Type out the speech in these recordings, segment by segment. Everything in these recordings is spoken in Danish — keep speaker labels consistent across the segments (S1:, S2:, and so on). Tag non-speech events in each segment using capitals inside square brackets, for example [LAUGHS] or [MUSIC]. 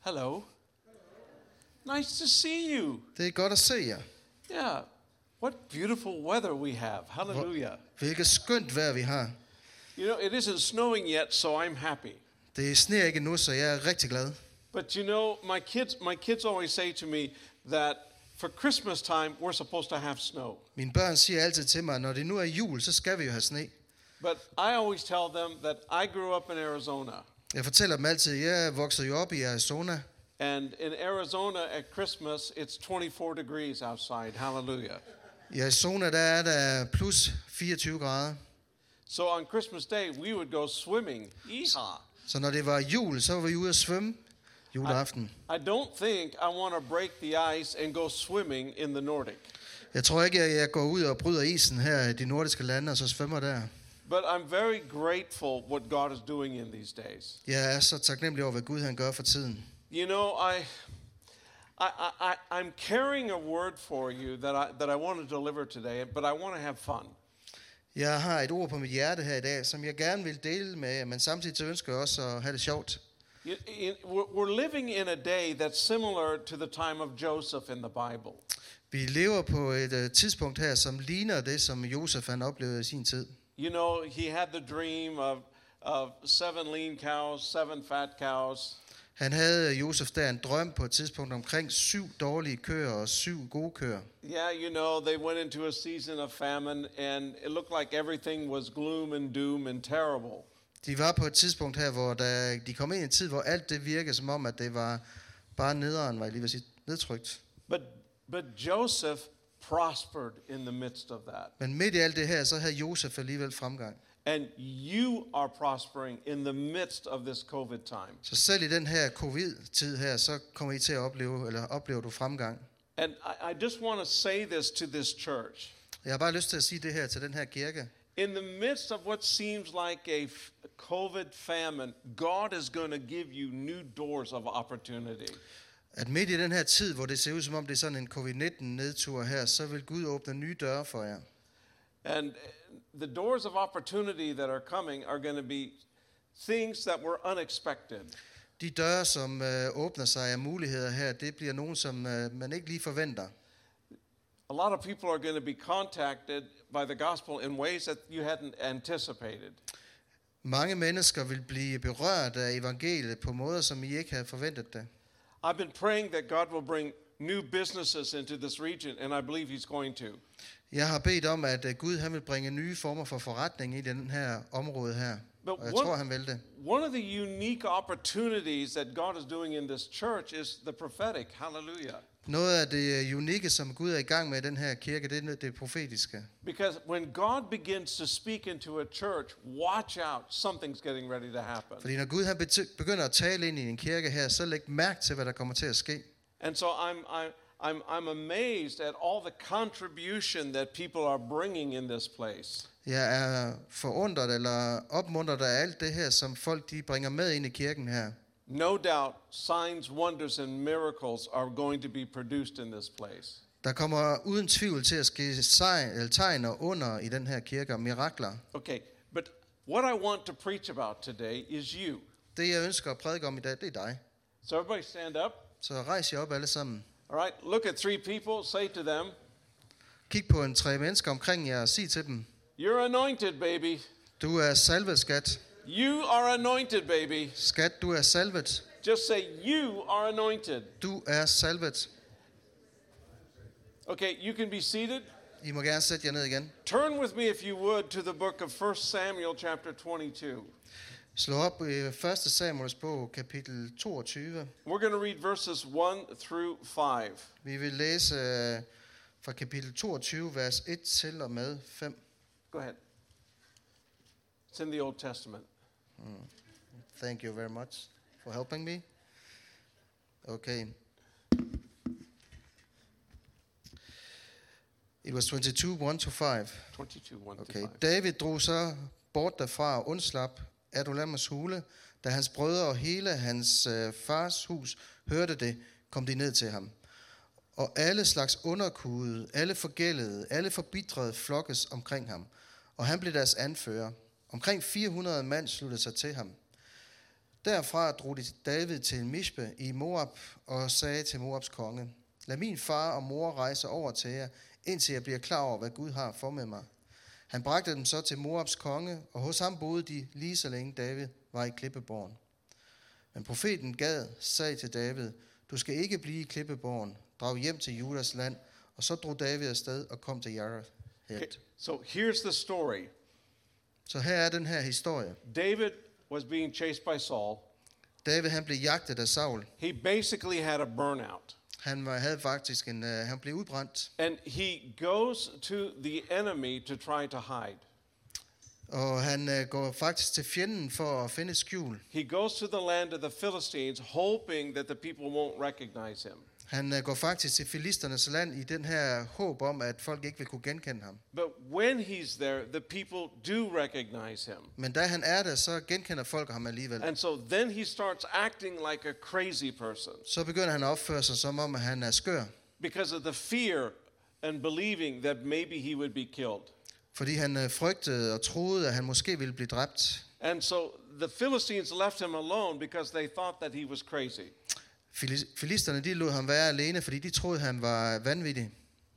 S1: Hello. Nice to see you.
S2: Det er godt at se jer.
S1: Yeah. What beautiful weather we have. Hallelujah.
S2: Hvilket skønt vejr vi har.
S1: You know, it isn't snowing yet, so I'm happy.
S2: Det sneer ikke nu, så jeg er rigtig glad.
S1: But you know, my kids my kids always say to me that for Christmas time we're supposed to have snow.
S2: Mine børn siger altid til mig, at når det nu er jul, så skal vi jo have sne.
S1: But I always tell them that I grew up in Arizona.
S2: Jeg fortæller dem altid, at jeg voksede jo op i Arizona,
S1: And in Arizona at Christmas, it's 24 degrees outside. Hallelujah.
S2: I Arizona der er der plus 24 grader.
S1: So on Christmas Day, we would go swimming. Yeehaw.
S2: Så når det var jul, så var vi ude at svømme juleaften.
S1: I don't think I want to break the ice and go swimming in the Nordic.
S2: Jeg tror ikke, at jeg går ud og bryder isen her i de nordiske lande, og så svømmer der.
S1: But I'm very grateful what God is doing in these days.
S2: Jeg er så taknemmelig over, hvad Gud han gør for tiden.
S1: You know, I, I, I, I- I'm carrying a word for you that I, that I want to deliver today, but I want to have fun.
S2: Jeg har et ord på mit hjerte her i dag, som jeg gerne vil dele med jer, men samtidig så ønsker jeg også at have det sjovt.
S1: You, you, we're, we're living in a day that's similar to the time of Joseph in the Bible.
S2: Vi lever på et øh, tidspunkt her, som ligner det, som Josef han oplevede i sin tid.
S1: You know, he had the dream of, of seven lean cows, seven fat cows.
S2: Han havde øh, Josef der en drøm på et tidspunkt omkring syv dårlige køer og syv gode køer.
S1: Yeah, you know, they went into a season of famine, and it looked like everything was gloom and doom and terrible.
S2: De var på et tidspunkt her, hvor der, de kom ind i en tid, hvor alt det virkede som om, at det var bare nederen, var jeg lige ved at sige, nedtrykt.
S1: But, but Joseph prospered in the midst of that.
S2: Men midt i alt det her, så havde Josef alligevel fremgang.
S1: And you are prospering in the midst of this COVID time.
S2: Så selv i den her covid-tid her, så kommer I til at opleve, eller oplever du fremgang.
S1: And I, I just want to say this to this church.
S2: Jeg har bare lyst til at sige det her til den her kirke.
S1: In the midst of what seems like a f- COVID famine, God is going to give you new doors of opportunity.
S2: At midt i den her tid, hvor det ser ud som om det er sådan en covid-19-nedtur her, så vil Gud åbne nye døre for jer.
S1: And uh, the doors of opportunity that are coming are going to be things that were unexpected.
S2: De døre, som øh, åbner sig af muligheder her, det bliver nogen, som øh, man ikke lige forventer.
S1: A lot of people are going to be contacted by the gospel in ways that you hadn't anticipated.
S2: Mange mennesker vil blive berørt af evangeliet på måder, som I ikke havde forventet det.
S1: I've been praying that God will bring new businesses into this region, and I believe He's going to.
S2: Jeg har bedt om, at øh, Gud han vil bringe nye former for forretning i den her område her.
S1: But
S2: Og jeg
S1: one-
S2: tror, han vil det.
S1: One of the unique opportunities that God is doing in this church is the prophetic. Hallelujah.
S2: Noget af det øh, unikke, som Gud er i gang med i den her kirke, det er det profetiske.
S1: Because when God begins to speak into a church, watch out, something's getting ready to happen.
S2: Fordi når Gud han bety- begynder at tale ind i en kirke her, så læg mærke til, hvad der kommer til at ske.
S1: And so I'm, I, I'm, I'm amazed at all the contribution that people are bringing in this place.
S2: Jeg er forundret eller opmuntret af alt det her, som folk de bringer med ind i kirken her.
S1: No doubt, signs, wonders, and miracles are going to be produced in this place.
S2: Der kommer uden tvivl til at ske sej- eller tegn og under i den her kirke og mirakler.
S1: Okay, but what I want to preach about today is you.
S2: Det jeg ønsker at prædike om i dag, det er dig.
S1: So everybody stand up.
S2: Så rejs jer op alle sammen.
S1: All right, look at three people, say to them,
S2: Kig på en tre mennesker omkring jer og sig til dem,
S1: You're anointed, baby.
S2: du er salvet, skat.
S1: You are anointed, baby.
S2: Skat, du er salvet.
S1: Just say, You are anointed.
S2: Du er salvet.
S1: Okay, you can be seated.
S2: I må gerne sætte jer ned igen.
S1: Turn with me, if you would, to the book of 1 Samuel, chapter 22.
S2: Slå op i 1. Samuels bog, kapitel 22.
S1: We're going to read verses 1 through 5.
S2: Vi vil læse øh, fra kapitel 22, vers 1 til og med 5.
S1: Go ahead. It's in the Old Testament.
S2: Thank you very much for helping me. Okay. It was 22, 1 to 5.
S1: 22, 1 through
S2: Okay.
S1: 5.
S2: David drog så bort derfra og undslap Adulams hule. Da hans brødre og hele hans øh, fars hus hørte det, kom de ned til ham. Og alle slags underkudede, alle forgældede, alle forbitrede flokkes omkring ham. Og han blev deres anfører. Omkring 400 mand sluttede sig til ham. Derfra drog de David til Mishpe i Moab og sagde til Moabs konge, Lad min far og mor rejse over til jer, indtil jeg bliver klar over, hvad Gud har for med mig. Han bragte dem så til Moabs konge, og hos ham boede de lige så længe David var i Klippeborgen. Men profeten Gad sagde til David, Du skal ikke blive i Klippeborgen, drag hjem til Judas land, og så drog David afsted og kom til Jareth.
S1: Okay, so here's the story
S2: Så her er den her historie.
S1: David was being chased by Saul.
S2: David han blev jagtet af Saul.
S1: He basically had a burnout.
S2: Han var, havde faktisk en, øh, han blev udbrændt,
S1: And he goes to the enemy to try to hide.
S2: og han øh, går faktisk til fjenden for at finde et skjul.
S1: He goes to the land of the Philistines, hoping that the people won't recognize him.
S2: Han øh, går faktisk til filisternes land i den her håb om, at folk ikke vil kunne genkende ham.
S1: But when he's there, the people do recognize him.
S2: Men da han er der, så genkender folk ham alligevel.
S1: And so then he starts acting like a crazy person
S2: Så begynder han at opføre sig som om, at han er skør,
S1: because of the fear and believing that maybe he would be killed.
S2: fordi han øh, frygtede og troede, at han måske ville blive dræbt.
S1: And so the Philistines left him alone because they thought that he was crazy.
S2: Filis- Filisterne de lod ham være alene, fordi de troede, han var vanvittig.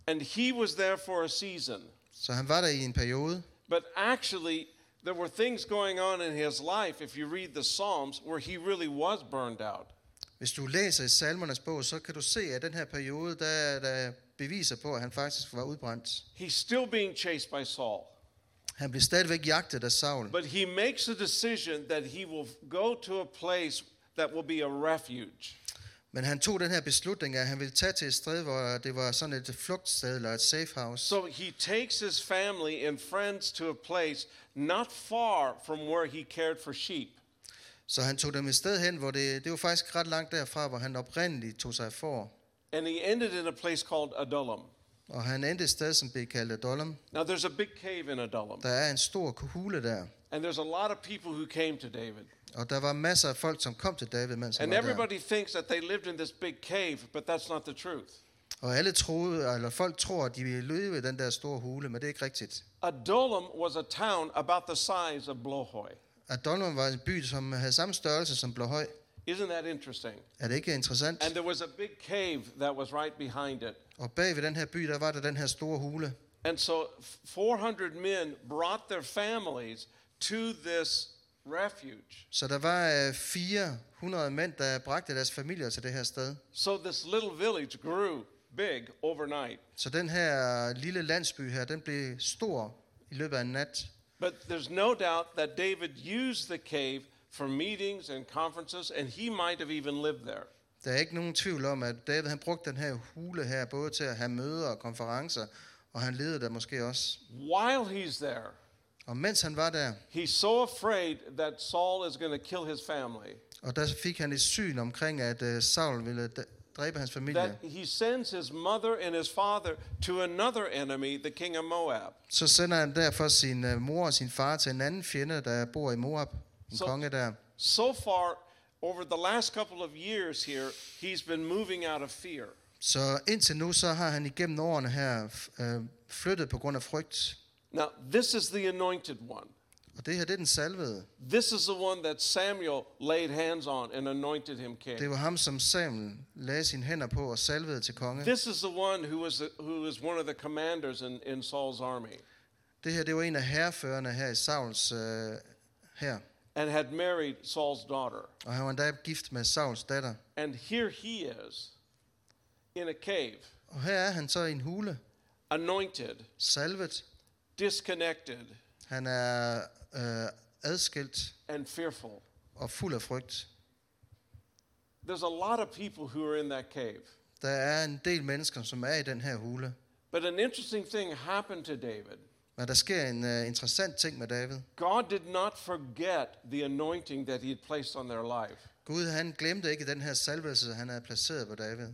S1: And he was there for a season.
S2: Så han var der i en periode.
S1: But actually, there were things going on in his life, if you read the Psalms, where he really was burned out.
S2: Hvis du læser i salmernes bog, så kan du se, at den her periode, der er der beviser på, at han faktisk var udbrændt.
S1: He's still being chased by Saul.
S2: Han blev stadigvæk jagtet af Saul,
S1: But he makes a decision that he will go to a place that will be a refuge.
S2: men han tog den her beslutning, at han ville tage til et sted, hvor det var sådan et flugtsted eller et safe house.
S1: So he takes his family and friends to a place not far from where he cared for sheep.
S2: Så han tog dem et sted hen, hvor det, det var faktisk ret langt derfra, hvor han oprindeligt tog sig for.
S1: And he ended in a place called Adullam.
S2: Og han endte et sted, som blev kaldt Adullam.
S1: Now there's a big cave in Adullam,
S2: Der er en stor hule der,
S1: and there's a lot of people who came to David.
S2: og der var masser af folk, som kom til David, mens han
S1: And
S2: var der.
S1: everybody thinks that they lived in this big cave, but that's not the truth.
S2: Og alle troede, eller folk tror, at de ville løbe i den der store hule, men det er ikke rigtigt.
S1: Adullam was a town about the size of Blohoy.
S2: Adolfo var en by, som havde samme størrelse som Blåhøj.
S1: Isn't that interesting?
S2: Er det ikke interessant?
S1: And there was a big cave that was right behind it.
S2: Og bag ved den her by, der var der den her store hule.
S1: And so 400 men brought their families to this refuge.
S2: Så der var øh, 400 mænd, der bragte deres familier til det her sted.
S1: So this little village grew big overnight.
S2: Så den her lille landsby her, den blev stor i løbet af en nat.
S1: But there's no doubt that David used the cave for meetings and conferences, and he might have even lived there.
S2: Der er ikke nogen tvivl om, at David han brugte den her hule her, både til at have møder og konferencer, og han ledede der måske også.
S1: While he's there,
S2: Og mens han var der,
S1: he's so afraid that Saul is going to kill his family
S2: og der fik han et syn omkring, at øh, Saul ville d- dræbe hans familie,
S1: that he sends his mother and his father to another enemy, the king of Moab.
S2: Så sender han derfor sin øh, mor og sin far til en anden fjende, der bor i Moab, en
S1: Så-
S2: så. konge der.
S1: So far, over the last couple of years here, he's been moving out of fear.
S2: Så indtil nu, så har han igennem årene her f- øh, flyttet på grund af frygt.
S1: Now, this is the anointed one.
S2: Og det her, det er den salvede.
S1: This is the one that Samuel laid hands on and anointed him
S2: Det
S1: king.
S2: var ham, som Samuel lagde sine hænder på og salvede til konge.
S1: This is the one who was, who was one of the commanders in, in Saul's army
S2: Det her, det var en af herreførerne her i Sauls øh, her.
S1: and had married Saul's daughter.
S2: Og han var endda gift med Sauls datter.
S1: And here he is in a cave,
S2: Og her er han så i en hule,
S1: anointed,
S2: salvet.
S1: disconnected,
S2: Han er øh, adskilt
S1: and fearful.
S2: og fuld af frygt.
S1: There's a lot of people who are in that cave.
S2: Der er en del mennesker, som er i den her hule.
S1: But an interesting thing happened to David.
S2: Men der sker en uh, interessant ting med David.
S1: God did not forget the anointing that he had placed on their life.
S2: Gud han glemte ikke den her salvelse, han havde placeret på David.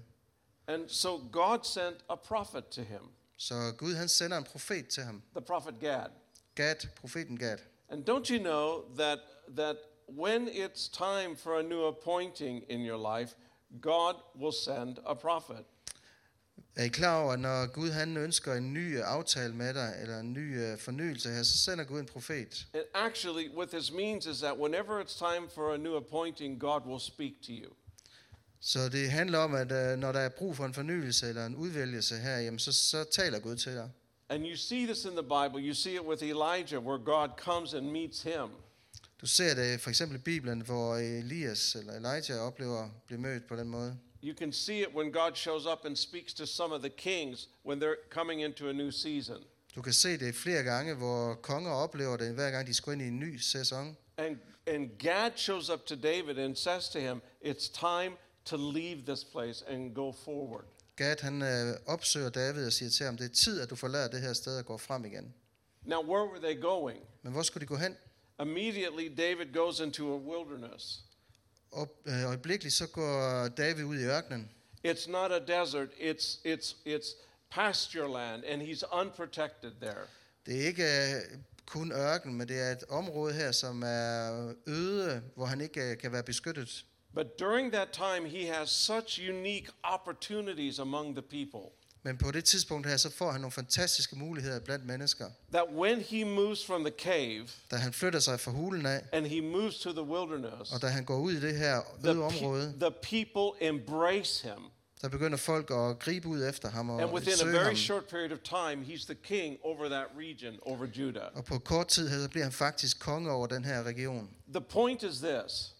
S1: And so God sent a prophet to him,
S2: Så Gud han sender en profet til ham.
S1: the prophet Gad.
S2: Gad, profeten Gad.
S1: And don't you know that, that when it's time for a new appointing in your life, God will send a prophet?
S2: Er I klar over, at når Gud han ønsker en ny øh, aftale med dig, eller en ny øh, fornyelse her, så sender Gud en profet.
S1: And actually, what this means is that whenever it's time for a new appointing, God will speak to you.
S2: Så det handler om, at øh, når der er brug for en fornyelse eller en udvælgelse her, jamen så, så taler Gud til dig.
S1: And you see this in the Bible. You see it with Elijah, where God comes and meets him.
S2: Du ser det for eksempel i Bibelen, hvor Elias eller Elijah oplever at blive mødt på den måde.
S1: You can see it when God shows up and speaks to some of the kings when they're coming into a new season.
S2: Du kan se det flere gange, hvor konger oplever det, hver gang de skal ind i en ny sæson.
S1: And, and Gad shows up to David and says to him, It's time to leave this place and go forward.
S2: Gad han øh, opsøger David og siger til ham, det er tid, at du forlader det her sted og går frem igen.
S1: Now, where were they going?
S2: Men hvor skulle de gå hen?
S1: Immediately, David goes into a wilderness.
S2: Og øh, øjeblikkeligt så går David ud i ørkenen.
S1: It's not a desert, it's, it's, it's pasture land, and he's unprotected there.
S2: Det er ikke øh, kun ørken, men det er et område her, som er øde, hvor han ikke øh, kan være beskyttet.
S1: But during that time, he has such unique opportunities among the people
S2: Men på det tidspunkt her, så får han nogle fantastiske muligheder blandt mennesker.
S1: that when he moves from the cave
S2: Da han flytter sig fra hulen af,
S1: and he moves to the wilderness,
S2: og er da han går ud i det her
S1: the,
S2: øde
S1: pe-
S2: område,
S1: the people embrace him.
S2: der begynder folk at gribe ud efter ham
S1: And
S2: og
S1: within a
S2: søge
S1: very
S2: ham.
S1: short period of time, he's the king over that region, over Judah.
S2: Og på kort tid her, så bliver han faktisk konge over den her region.
S1: The point is this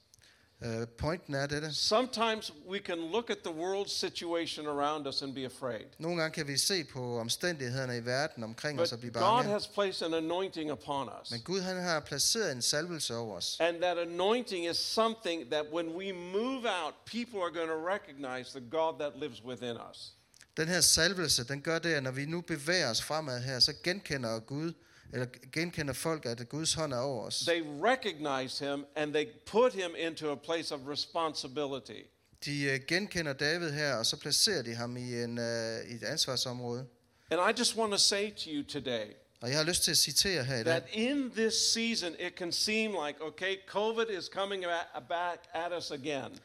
S2: Øh, pointen er dette.
S1: sometimes we can look at the world's situation around us and be afraid.
S2: Nogle gange kan vi se på omstændighederne i verden omkring os og
S1: But
S2: blive
S1: God
S2: er bange.
S1: has placed an anointing upon us.
S2: Men Gud han har placeret en salvelse over os.
S1: And that anointing is something that when we move out, people are going to recognize the God that lives within us.
S2: Den her salvelse, den gør det, at når vi nu bevæger os fremad her, så genkender Gud, eller genkender folk, at Guds hånd er over os.
S1: They recognize him and they put him into a place of responsibility.
S2: De øh, genkender David her, og så placerer de ham i, en, øh, i et ansvarsområde.
S1: And I just want to say to you today
S2: Og jeg har lyst til at citere her i dag,
S1: that in this season, it can seem like, okay, COVID is coming ba- back at us again.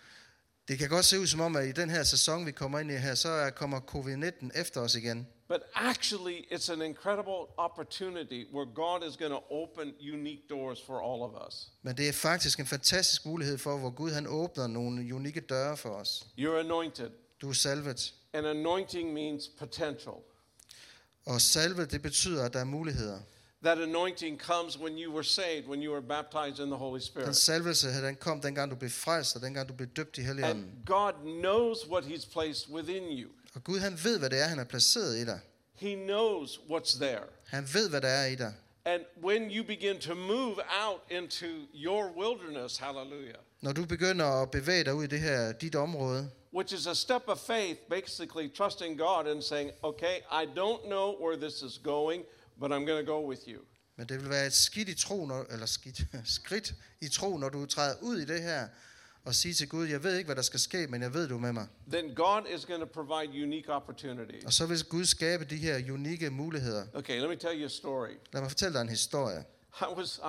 S2: det kan godt se ud som om, at i den her sæson, vi kommer ind i her, så er- kommer covid-19 efter os igen.
S1: But actually, it's an incredible opportunity where God is going to open unique doors for all of us.
S2: Men det er faktisk en fantastisk mulighed for, hvor Gud han åbner nogle unikke døre for os.
S1: You're anointed,
S2: Du er salvet.
S1: and anointing means potential.
S2: Og salvet, det betyder, at der er muligheder.
S1: That anointing comes when you were saved, when you were baptized in the Holy
S2: Den
S1: Spirit.
S2: salvelse her, den kom dengang du blev frelst, og dengang du blev døbt i Helligånden.
S1: And God knows what He's placed within you,
S2: Og Gud han ved, hvad det er, han har placeret i dig.
S1: He knows what's there.
S2: Han ved, hvad der er i dig.
S1: And when you begin to move out into your wilderness, hallelujah,
S2: Når du begynder at bevæge dig ud i det her, dit område,
S1: which is a step of faith, basically trusting God and saying, okay, I don't know where this is going, but I'm going to go with you.
S2: men det vil være et skidt i tro, når, eller skidt, [LAUGHS] skridt i tro, når du træder ud i det her, og siger til Gud, jeg ved ikke, hvad der skal ske, men jeg ved, du er med mig.
S1: Then God is going to provide unique opportunities.
S2: Og så vil Gud skabe de her unikke muligheder.
S1: Okay, let me tell you a story. [LAUGHS]
S2: Lad mig fortælle dig en historie.
S1: I was I,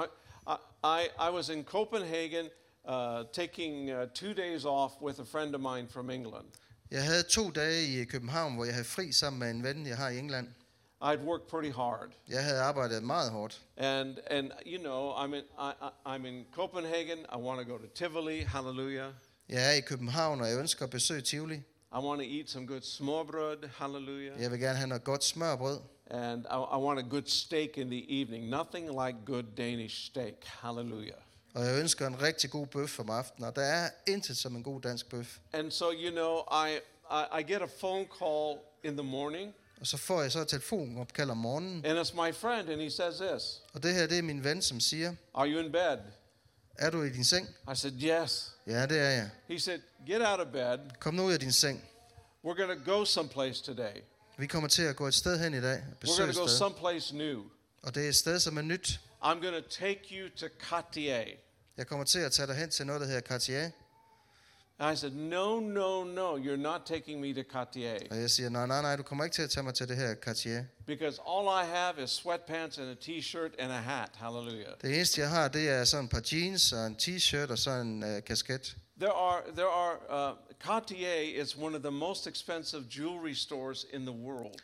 S1: I- I, I was in Copenhagen uh, taking uh, two days off with a friend of mine from England.
S2: Jeg havde to dage i København, hvor jeg havde fri sammen med en ven, jeg har i England.
S1: I'd worked pretty hard,
S2: Jeg havde arbejdet meget hårdt.
S1: and and you know I'm in I, I, I'm in Copenhagen. I want to go to Tivoli. Hallelujah.
S2: Jeg er i København, og jeg ønsker at besøge Tivoli.
S1: I want to eat some good smørbrød. Hallelujah.
S2: Jeg vil gerne have noget godt smørbrød.
S1: And I, I want a good steak in the evening. Nothing like good Danish steak. Hallelujah.
S2: Og jeg ønsker en rigtig god bøf om aftenen, og der er intet som en god dansk bøf.
S1: And so you know I I, I get a phone call in the morning,
S2: Og så får jeg så et telefonopkald om morgenen,
S1: and it's my friend, and he says this.
S2: og det her det er min ven, som siger,
S1: Are you in bed?
S2: er du i din seng?
S1: I said, Yes.
S2: Ja, det er jeg.
S1: He said, Get out of bed.
S2: Kom nu ud af din seng.
S1: We're going to go someplace today.
S2: Vi kommer til at gå et sted hen i dag, og
S1: We're
S2: besøge
S1: going
S2: et
S1: to go
S2: sted.
S1: someplace new.
S2: Og det er et sted, som er nyt.
S1: I'm going to take you to Cartier.
S2: Jeg kommer til at tage dig hen til noget, der hedder Cartier.
S1: And I said, No, no, no, you're not taking me to Cartier
S2: Og jeg siger, nej, nej, nej, du kommer ikke til at tage mig til det her Cartier.
S1: because all I have is sweatpants and a t shirt and a hat. Hallelujah.
S2: Det eneste, jeg har, det er sådan et par jeans og en t-shirt og sådan en øh, kasket.
S1: There are, there are uh, Cartier is one of the most expensive jewelry stores in the world.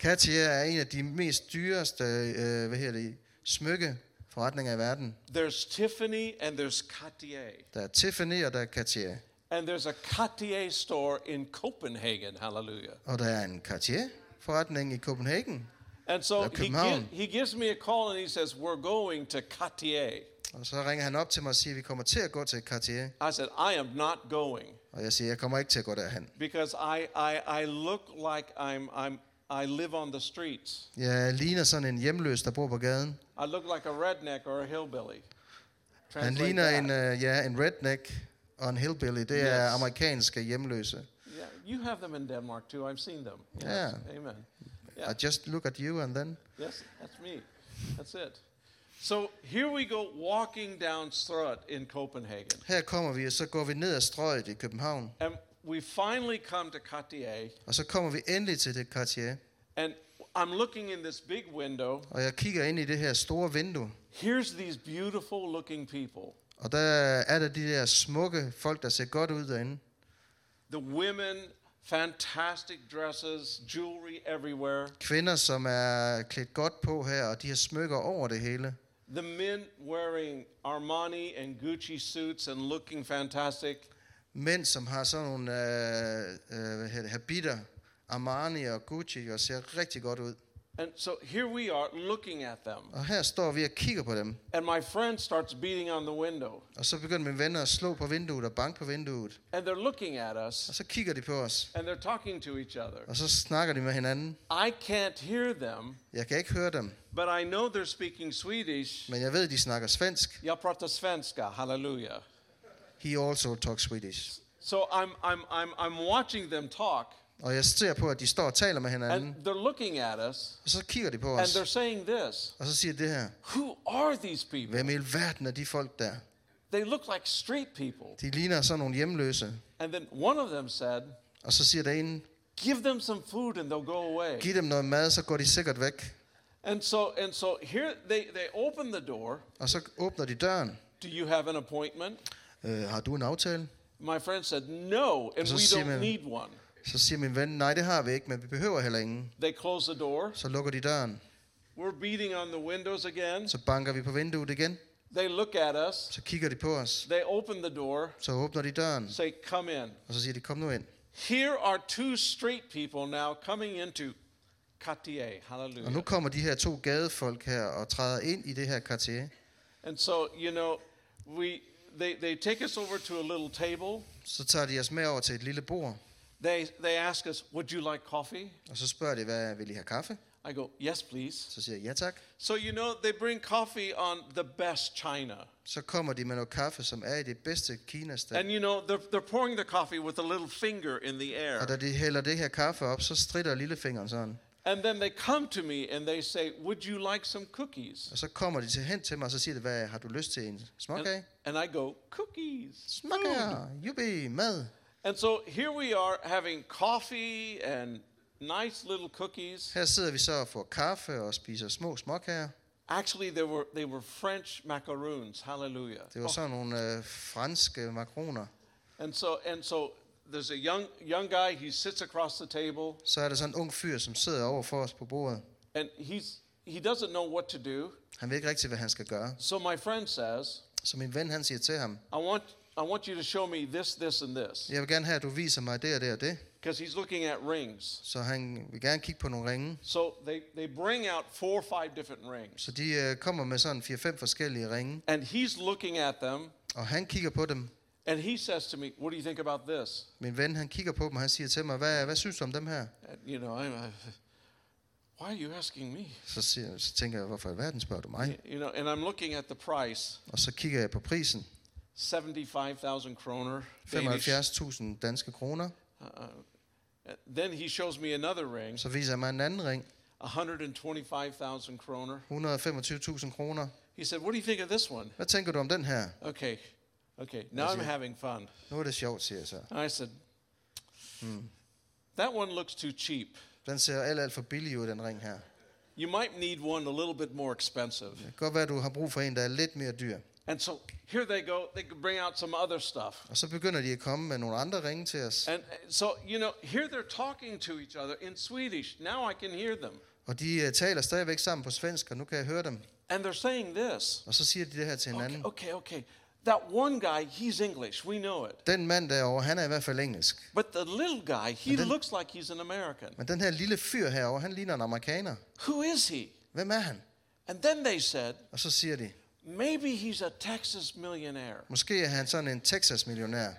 S2: Cartier er en af de mest dyreste øh, hvad hedder det, smykkeforretninger i verden.
S1: There's Tiffany and there's Cartier.
S2: Der er Tiffany og der er Cartier.
S1: And there's a Cartier store in Copenhagen. Hallelujah.
S2: Og der er en Cartier-forretning i Copenhagen.
S1: And so
S2: That
S1: he,
S2: came out.
S1: gi- he gives me a call and he says, We're going to Cartier.
S2: Og så ringer han op til mig og siger, vi kommer til at gå til Cartier.
S1: I said, I am not going
S2: Og jeg siger, jeg kommer ikke til at gå derhen.
S1: because I, I, I look like I'm, I'm, I live on the streets.
S2: Jeg ligner sådan en hjemløs, der bor på gaden.
S1: I look like a redneck or a hillbilly.
S2: Han
S1: Translate
S2: ligner
S1: that.
S2: en, øh, ja, en redneck og en hillbilly. Det er
S1: Yes.
S2: amerikanske hjemløse.
S1: Yeah, you have them in Denmark too. I've seen them.
S2: Yeah.
S1: Amen. Yeah.
S2: I just look at you and then...
S1: Yes, that's me. That's it. So here we go walking down Strut in Copenhagen.
S2: Her kommer vi, og så går vi ned ad strøget i København.
S1: And we finally come to Cartier.
S2: Og så kommer vi endelig til det Cartier.
S1: And I'm looking in this big window.
S2: Og jeg kigger ind i det her store vindue.
S1: Here's these beautiful looking people.
S2: Og der er der de der smukke folk, der ser godt ud derinde.
S1: The women, fantastic dresses, jewelry everywhere.
S2: Kvinder, som er klædt godt på her, og de har smykker over det hele.
S1: The men wearing Armani and Gucci suits and looking fantastic.
S2: Mænd, som har sådan nogle øh, øh, hvad hedder det, habiter, Armani og Gucci, og ser rigtig godt ud.
S1: And so here we are looking at them.
S2: Og her står vi og kigger på dem.
S1: And my friend starts beating on the window.
S2: Og så begynder mine venner at slå på vinduet og banke på vinduet.
S1: And they're looking at us
S2: Og så kigger de på os.
S1: and they're talking to each other.
S2: Og så snakker de med hinanden.
S1: I can't hear them,
S2: Jeg kan ikke høre dem,
S1: but I know they're speaking Swedish.
S2: men jeg ved, de snakker svensk.
S1: Jag pratar svenska, hallelujah.
S2: He also talks Swedish.
S1: So I'm, I'm, I'm, I'm watching them talk
S2: Og jeg ser på, at de står og taler med hinanden.
S1: and they're looking at us
S2: Og så kigger de på
S1: and
S2: os.
S1: they're saying this
S2: Og så siger de det her.
S1: Who are these people?
S2: Hvem i alverden er de folk der?
S1: They look like street people.
S2: De ligner sådan nogle hjemløse.
S1: And then one of them said,
S2: Og så siger der en,
S1: Give them some food and they'll go away.
S2: giv dem noget mad, så går de sikkert væk.
S1: And so, and so here they, they open the door.
S2: Og så åbner de døren.
S1: Do you have an appointment?
S2: Øh, har du en aftale?
S1: My friend said, No, and
S2: Så
S1: we
S2: siger
S1: don't
S2: man-
S1: need one.
S2: Så siger min ven, nej, det har vi ikke, men vi behøver heller ingen.
S1: They close the door.
S2: Så lukker de døren.
S1: We're beating on the windows again.
S2: Så banker vi på vinduet igen.
S1: They look at us.
S2: Så kigger de på os.
S1: They open the door,
S2: Så åbner de døren.
S1: say, Come in.
S2: Og så siger de, kom nu ind.
S1: Here are two street people now coming into Cartier.
S2: Og nu
S1: Hallelujah.
S2: kommer de her to gadefolk her og træder ind i det her Cartier.
S1: And so, you know, we, they, they take us over to a little table.
S2: Så tager de os med over til et lille bord.
S1: They, they ask us, Would you like coffee?
S2: Og så spørger de, hvad vil I have kaffe?
S1: I go, Yes, please.
S2: Så siger jeg, ja tak.
S1: So, you know, they bring coffee on the best china.
S2: Så kommer de med noget kaffe, som er i det bedste kinasted.
S1: And, you know, they're, they're pouring the coffee with a little finger in the air.
S2: Og da de hælder det her kaffe op, så stritter lillefingeren sådan.
S1: And then they come to me and they say, Would you like some cookies?
S2: Og så kommer de til hen til mig, og så siger de, hvad har du lyst til? En småkage?
S1: And, and I go, Cookies. food."
S2: Småkager, jubi, mad.
S1: And so here we are having coffee and nice little cookies.
S2: Her sidder vi så og får kaffe og spiser små småkager.
S1: Actually, they were, they were French macaroons. Hallelujah.
S2: Det var sådan nogle øh, franske makroner.
S1: And so, and so there's a young, young guy, he sits across the table.
S2: Så er der sådan en ung fyr, som sidder over for os på bordet.
S1: and he's he doesn't know what to do.
S2: Han ved ikke rigtig, hvad han skal gøre.
S1: So my friend says,
S2: Så min ven, han siger til ham,
S1: "I want I want you to show me this, this, and this,"
S2: jeg vil gerne have, at du viser mig det og det og det.
S1: because he's looking at rings.
S2: Så han vil gerne kigge på nogle ringe.
S1: So they they bring out four or five different rings,
S2: Så de øh, kommer med sådan 4-5 forskellige ringe,
S1: and he's looking at them,
S2: og han kigger på dem.
S1: and he says to me, "What do you think about this?"
S2: Min ven, han kigger på dem, og han siger til mig, hvad, hvad synes du om dem her?
S1: And, you know, I'm, [LAUGHS] uh, why are you asking me?
S2: Så, siger, så tænker jeg, hvorfor i verden spørger du mig?
S1: You know, and I'm looking at the price,
S2: Og så kigger jeg på prisen.
S1: seventy-five thousand kroner. Danish.
S2: 75.000 danske kroner.
S1: Uh, uh, then he shows me another ring,
S2: Så viser han mig en anden ring.
S1: hundred and twenty-five thousand kroner.
S2: 125.000 kroner.
S1: He said, "What do you think of this one?"
S2: Hvad tænker du om den her?
S1: Okay, Okay, now I'm having fun.
S2: Nu er det sjovt, siger jeg så.
S1: I said, that one looks too cheap.
S2: Den ser alt, alt for billig ud, den ring her.
S1: You might need one a little bit more expensive.
S2: Det kan godt være, at du har brug for en, der er lidt mere dyr.
S1: And so here they go. They could bring out some other stuff.
S2: Og så begynder de at komme med nogle andre ringe til os.
S1: And uh, so, you know, here they're talking to each other in Swedish. Now I can hear them.
S2: Og de uh, taler stadigvæk sammen på svensk, og nu kan jeg høre dem.
S1: And they're saying this.
S2: Og så siger de det her til hinanden.
S1: Okay, okay, okay. That one guy, he's English. We know it.
S2: Den mand derovre, han er i hvert fald engelsk.
S1: But the little guy, he
S2: And then-
S1: looks like he's an American.
S2: Men den her lille fyr herovre, han ligner en amerikaner.
S1: Who is he?
S2: Hvem er han?
S1: And then they said,
S2: Og så siger de,
S1: maybe he's a Texas millionaire.
S2: måske er han sådan en Texas-millionær.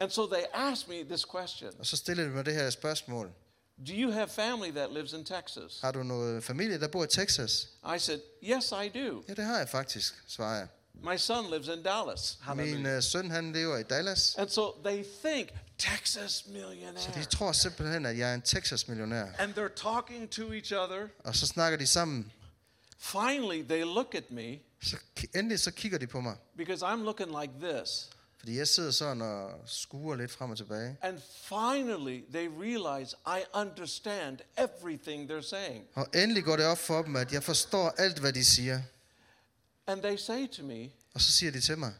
S1: And so they asked me this question
S2: Og så stiller de mig det her spørgsmål.
S1: Do you have family that lives in Texas?
S2: Har du noget familie, der bor i Texas?
S1: I said, Yes, I do.
S2: Ja, det har jeg faktisk, svarer jeg.
S1: My son lives in Dallas.
S2: Min
S1: Hallelujah.
S2: øh, søn, han lever i Dallas.
S1: And so they think Texas millionaire.
S2: Så de tror simpelthen, at jeg er en Texas-millionær.
S1: And they're talking to each other.
S2: Og så snakker de sammen.
S1: Finally, they look at me
S2: Så ki- endelig så kigger de på mig.
S1: because I'm looking like this.
S2: Fordi jeg sidder sådan og skuer lidt frem og tilbage.
S1: And finally, they realize I understand everything they're saying.
S2: Og endelig går det op for dem, at jeg forstår alt, hvad de siger.
S1: And they say to me,
S2: Og så siger de til mig,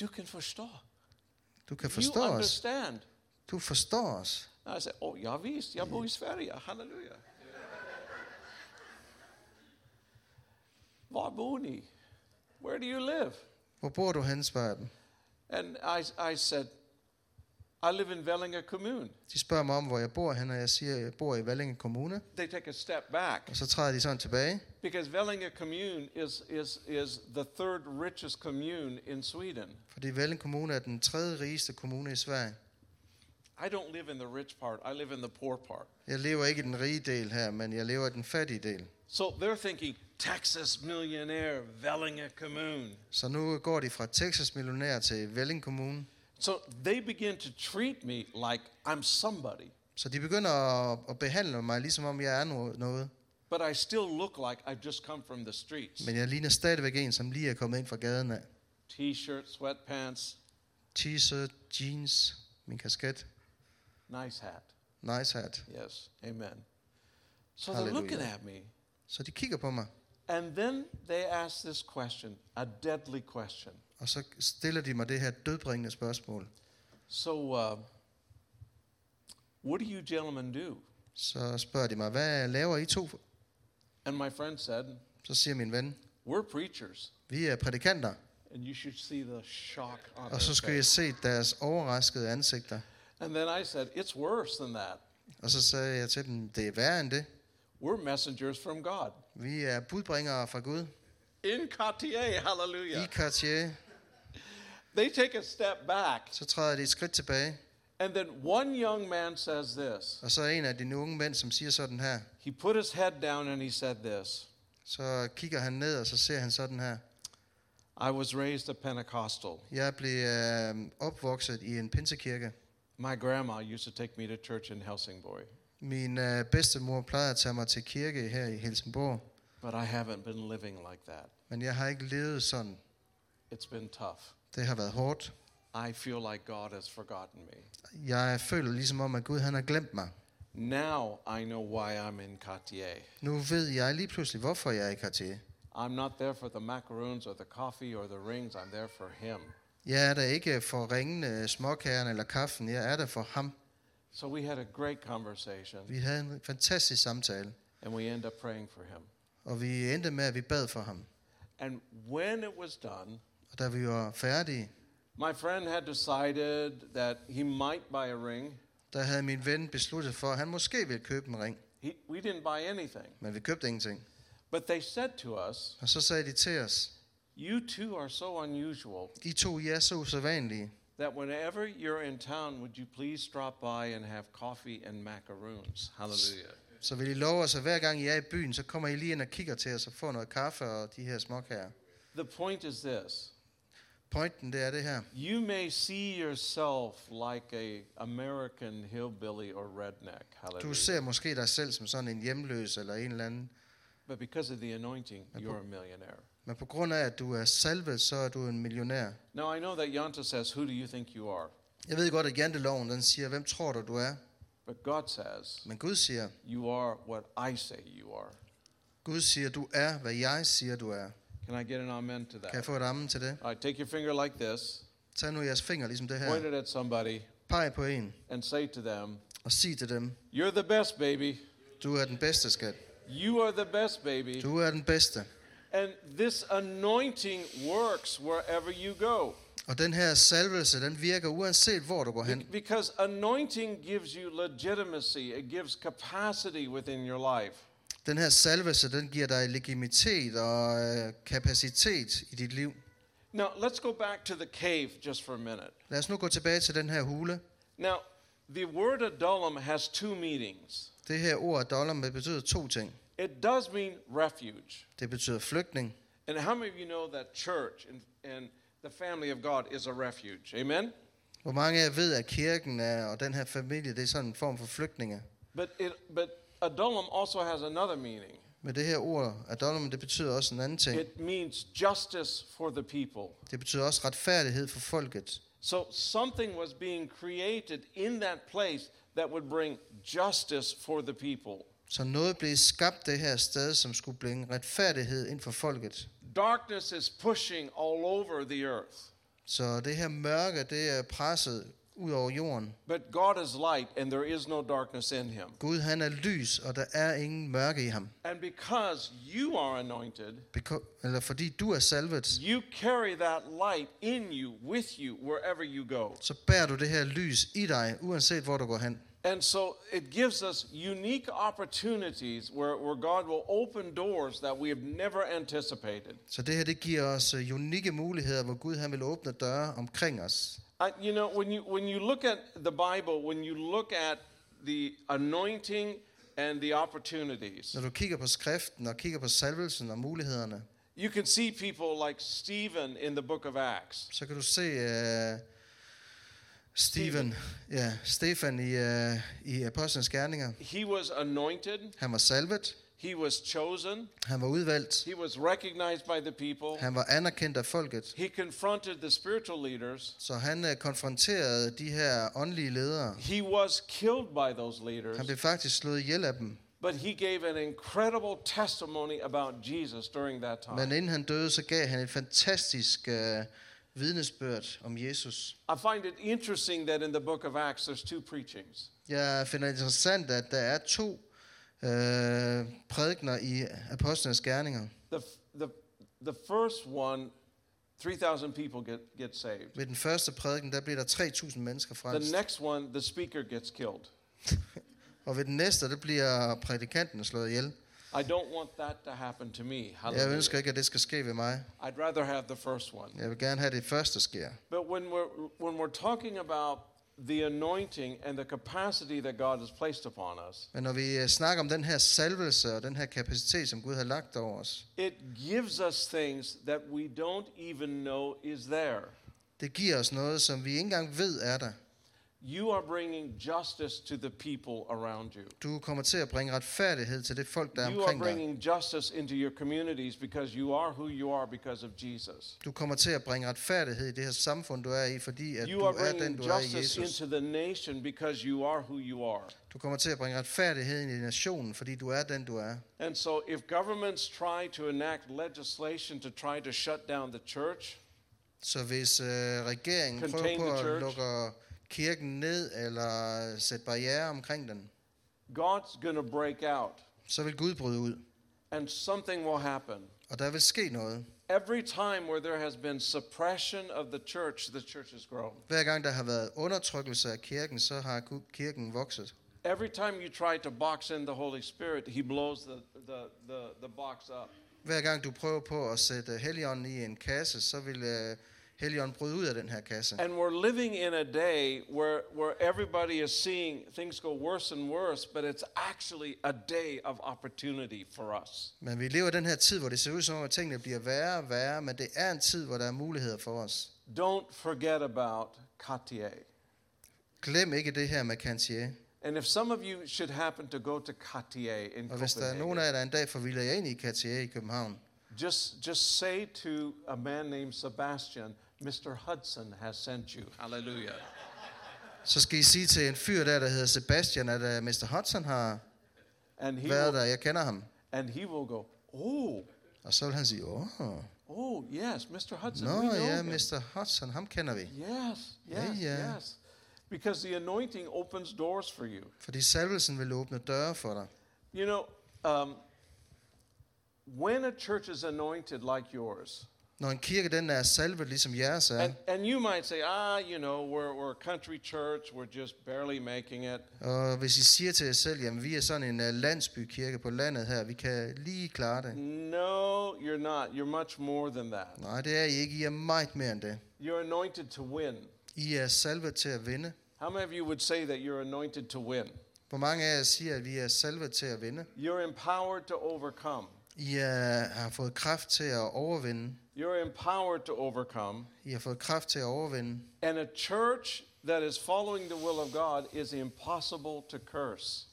S1: Du kan forstå.
S2: du kan
S1: You
S2: forstå os.
S1: understand.
S2: Du forstår os.
S1: And I said, Oh, ja visst, jag bor i Sverige. Halleluja. Var bor ni? Where do you live?
S2: Hvor bor du hen, spørger jeg dem.
S1: And I, I said, I live in Vellinger Commune.
S2: De spørger mig om, hvor jeg bor hen, og jeg siger, at jeg bor i Vallinge Kommune.
S1: They take a step back
S2: Og så træder de sådan tilbage.
S1: because Vellinger Commune is, is, is the third richest commune in Sweden.
S2: Fordi Vellinge Kommune er den tredje rigeste kommune i Sverige.
S1: I don't live in the rich part, I live in the poor part.
S2: Jeg lever ikke i den rige del her, men jeg lever i den fattige del.
S1: So they're thinking, Texas millionaire, Vellinger Commune.
S2: Så nu går de fra Texas millionær til Velling Kommune.
S1: So they begin to treat me like I'm somebody,
S2: Så de begynder at, at behandle mig, ligesom om jeg er no- noget.
S1: but I still look like I've just come from the streets.
S2: Men jeg ligner stadigvæk en, som lige er kommet ind fra gaden af.
S1: T-shirt, sweatpants,
S2: T-shirt, jeans, min kasket,
S1: nice hat.
S2: nice hat.
S1: Yes, amen. So they're
S2: Hallelujah.
S1: looking at me,
S2: Så de kigger på mig,
S1: and then they ask this question, a deadly question.
S2: og så stiller de mig det her dødbringende spørgsmål.
S1: So, uh, what do you gentlemen do?
S2: Så spørger de mig, hvad laver I to?
S1: And my friend said,
S2: Så siger min ven,
S1: we're preachers.
S2: vi er prædikanter.
S1: And you should see the shock on their
S2: Og så skulle jeg
S1: face.
S2: se deres overraskede ansigter.
S1: And then I said, it's worse than that.
S2: Og så sagde jeg til dem, det er værre end det.
S1: We're messengers from God.
S2: Vi er budbringere fra Gud.
S1: In Cartier, hallelujah.
S2: I Cartier,
S1: They take a step back.
S2: så træder de et skridt tilbage.
S1: And then one young man says this.
S2: Og så er en af de unge mænd, som siger sådan her.
S1: He put his head down and he said this
S2: Så kigger han ned, og så ser han sådan her.
S1: I was raised a Pentecostal.
S2: Jeg blev øh, opvokset i en pinsekirke.
S1: My grandma used to take me to church in Helsingborg,
S2: Min øh, bedstemor plejede at tage mig til kirke her i Helsingborg,
S1: but I haven't been living like that.
S2: men jeg har ikke levet sådan.
S1: It's been tough.
S2: Det har været hårdt.
S1: I feel like God has forgotten me.
S2: Jeg føler ligesom om, at Gud han har glemt mig.
S1: Now I know why I'm in Cartier.
S2: Nu ved jeg lige pludselig, hvorfor jeg er i Cartier.
S1: I'm not there for the macaroons or the coffee or the rings, I'm there for Him.
S2: Jeg er der ikke for ringene, småkagerne eller kaffen. Jeg er der for ham.
S1: So we had a great conversation
S2: Vi havde en fantastisk samtale,
S1: and we end up praying for Him.
S2: og vi endte med, at vi bad for ham.
S1: And when it was done,
S2: Og da vi var færdige,
S1: my friend had decided that he might buy a ring.
S2: der havde min ven besluttet for, at han måske ville købe en ring,
S1: He, we didn't buy anything.
S2: men vi købte ingenting.
S1: But they said to us,
S2: Og så sagde de til os,
S1: You two are so unusual
S2: I to, I er så usædvanlige,
S1: that whenever you're in town, would you please drop by and have coffee and macaroons? Hallelujah.
S2: så vil I love os, at hver gang I er i byen, så kommer I lige ind og kigger til os og får noget kaffe og de her småkager.
S1: The point is this
S2: Pointen, det er det her.
S1: you may see yourself like a American hillbilly or redneck.
S2: Du
S1: Hallelujah.
S2: ser måske dig selv som sådan en hjemløs eller en eller anden,
S1: But because of the anointing, you're a millionaire.
S2: Men på grund af, at du er salvet, så er du en millionær.
S1: Now, I know that Yanta says, Who do you think you are?
S2: Jeg ved godt, at janteloven den siger, hvem tror du, du er?
S1: But God says,
S2: Men Gud siger,
S1: You are what I say you are.
S2: Gud siger, du er, hvad jeg siger, du er.
S1: Can I get an amen to
S2: Kan jeg
S1: that?
S2: få et ammen til det?
S1: All right, take your finger like this,
S2: Tag nu jeres finger, ligesom det
S1: point
S2: her.
S1: it at somebody,
S2: Peg på en,
S1: and say to them,
S2: og sig til dem,
S1: You're the best, baby.
S2: du er den bedste, skat.
S1: You are the best, baby.
S2: Du er den bedste.
S1: And this anointing works wherever you go.
S2: Og den her salvelse, den virker uanset hvor du går
S1: Be-
S2: hen.
S1: Because anointing gives you legitimacy, it gives capacity within your life.
S2: Den her salvelse, den giver dig legitimitet og øh, kapacitet i dit liv.
S1: Now, let's go back to the cave just for a minute.
S2: Lad os nu gå tilbage til den her hule.
S1: Now, the word adullam has two meanings.
S2: Det her ord adollam det betyder to ting.
S1: It does mean refuge.
S2: Det betyder flygtning.
S1: And how many of you know that church and, and the family of God is a refuge? Amen?
S2: Hvor mange af jer ved, at kirken er, og den her familie, det er sådan en form for flygtninge.
S1: But, it, but adullam also has another meaning
S2: Men det her ord adollam, det betyder også en anden ting.
S1: it means justice for the people.
S2: Det betyder også retfærdighed for folket.
S1: So something was being created in that place that would bring justice for the people.
S2: Så noget blev skabt det her sted, som skulle bringe retfærdighed ind for folket.
S1: Darkness is pushing all over the earth,
S2: Så det her mørke, det er presset ud over jorden.
S1: but God is light and there is no darkness in him.
S2: Gud han er lys, og der er ingen mørke i ham.
S1: And because you are anointed,
S2: Beko- eller fordi du er salvet,
S1: you carry that light in you, with you, wherever you go.
S2: så bærer du det her lys i dig, uanset hvor du går hen.
S1: And so it gives us unique opportunities where, where God will open doors that we have never anticipated.
S2: Så det her, det giver os øh, unikke muligheder, hvor Gud han vil åbne døre omkring os.
S1: I, you know, when you when you look at the Bible, when you look at the anointing and the opportunities,
S2: Når du kigger på skriften og kigger på salvelsen og mulighederne,
S1: you can see people like Stephen in the Book of Acts.
S2: så kan du se uh, Stephen, ja, Stefan i, uh, i Apostlenes Gerninger.
S1: He was anointed.
S2: Han var salvet,
S1: He was chosen.
S2: han var udvalgt,
S1: He was recognized by the people.
S2: han var anerkendt af folket.
S1: He confronted the spiritual leaders.
S2: Så han uh, konfronterede de her åndelige ledere.
S1: He was killed by those leaders,
S2: Han blev faktisk slået ihjel af dem.
S1: but he gave an incredible testimony about Jesus during that
S2: Men
S1: time.
S2: inden han døde, så gav han et fantastisk øh, vidnesbyrd om Jesus.
S1: I find it interesting that in the book of Acts there's two preachings.
S2: Jeg finder det interessant, at der er to øh, prædikner i Apostlenes Gerninger.
S1: The, the, the first one, 3,000 people get, get saved.
S2: Ved den første prædiken, der bliver der 3.000 mennesker
S1: The
S2: frelst.
S1: next one, the speaker gets killed.
S2: Og ved den næste, der bliver prædikanten slået ihjel.
S1: I don't want that to happen to me.
S2: Jeg
S1: Hallelujah.
S2: ønsker ikke, at det skal ske ved mig.
S1: I'd rather have the first one.
S2: Jeg vil gerne have, at det første sker.
S1: But when we're, when we're talking about the anointing and the capacity that God has placed upon us,
S2: Men når vi øh, snakker om den her salvelse og den her kapacitet, som Gud har lagt over os,
S1: it gives us things that we don't even know is there.
S2: det giver os noget, som vi ikke engang ved er der.
S1: You are bringing justice to the people around you.
S2: Du kommer til at bringe retfærdighed til det folk, der er
S1: You are
S2: omkring dig.
S1: bringing justice into your communities because you are who you are because of Jesus.
S2: Du kommer til at bringe retfærdighed i det her samfund, du er i, fordi at
S1: You
S2: du
S1: are
S2: er den,
S1: bringing
S2: du er i
S1: justice
S2: Jesus.
S1: into the nation because you are who you are.
S2: Du kommer til at bringe retfærdighed ind i nationen, fordi du er den, du er.
S1: And so, if governments try to enact legislation to try to shut down the church,
S2: Så hvis øh, regeringen
S1: Contain
S2: prøver på
S1: the
S2: at
S1: church.
S2: lukke kirken ned eller sætte barriere omkring den,
S1: God's going to break out
S2: så vil Gud bryde ud,
S1: and something will happen.
S2: og der vil ske noget.
S1: Every time where there has been suppression of the church, the church has grown.
S2: Hver gang der har været undertrykkelse af kirken, så har ku- kirken vokset.
S1: Every time you try to box in the Holy Spirit, He blows the, the, the, the box up.
S2: Hver gang du prøver på at sætte Helligånden i en kasse, så vil øh, Helligånden bryde ud af den her kasse.
S1: And we're living in a day where, where everybody is seeing things go worse and worse, but it's actually a day of opportunity for us.
S2: Men vi lever i den her tid, hvor det ser ud som om, at tingene bliver værre og værre, men det er en tid, hvor der er muligheder for os.
S1: Don't forget about Cartier.
S2: Glem ikke det her med Cantier.
S1: And if some of you should happen to go to Cartier in
S2: Og hvis der er nogen af
S1: Copenhagen,
S2: jer, der en dag får vildt jer ind i Cartier i København,
S1: Just, just say to a man named Sebastian, Mr. Hudson has sent you. Hallelujah.
S2: Så skal I sige til en fyr der, der hedder Sebastian, at uh, Mr. Hudson har
S1: And he,
S2: været
S1: will,
S2: der. Jeg kender ham.
S1: and he will go, oh,
S2: Og så vil han sige, åh, oh,
S1: oh, yes, Mr. Hudson.
S2: nå
S1: we know
S2: ja,
S1: him."
S2: Mr. Hudson, ham kender vi.
S1: Yes,
S2: Ja,
S1: yes,
S2: ja.
S1: yes. Because the anointing opens doors for you.
S2: Fordi salvelsen vil åbne døre for dig.
S1: You know, um, when a church is anointed like yours,
S2: Når en kirke den er salvet, ligesom jeres er,
S1: and, and you might say, ah, you know, we're, we're a country church, we're just barely making it.
S2: og hvis I siger til jer selv, jamen vi er sådan en uh, landsbykirke på landet her, vi kan lige klare det.
S1: No, you're not. You're much more than that.
S2: Nej, det er I ikke. I er meget mere end det.
S1: You're anointed to win.
S2: I er salvet til at vinde.
S1: How many of you would say that you're anointed to win?
S2: Hvor mange af jer siger, at vi er salvet til at vinde?
S1: You're empowered to overcome.
S2: I er, har fået kraft til at overvinde.
S1: You're empowered to overcome.
S2: I har fået kraft til at overvinde.
S1: And a church that is following the will of God is impossible to curse.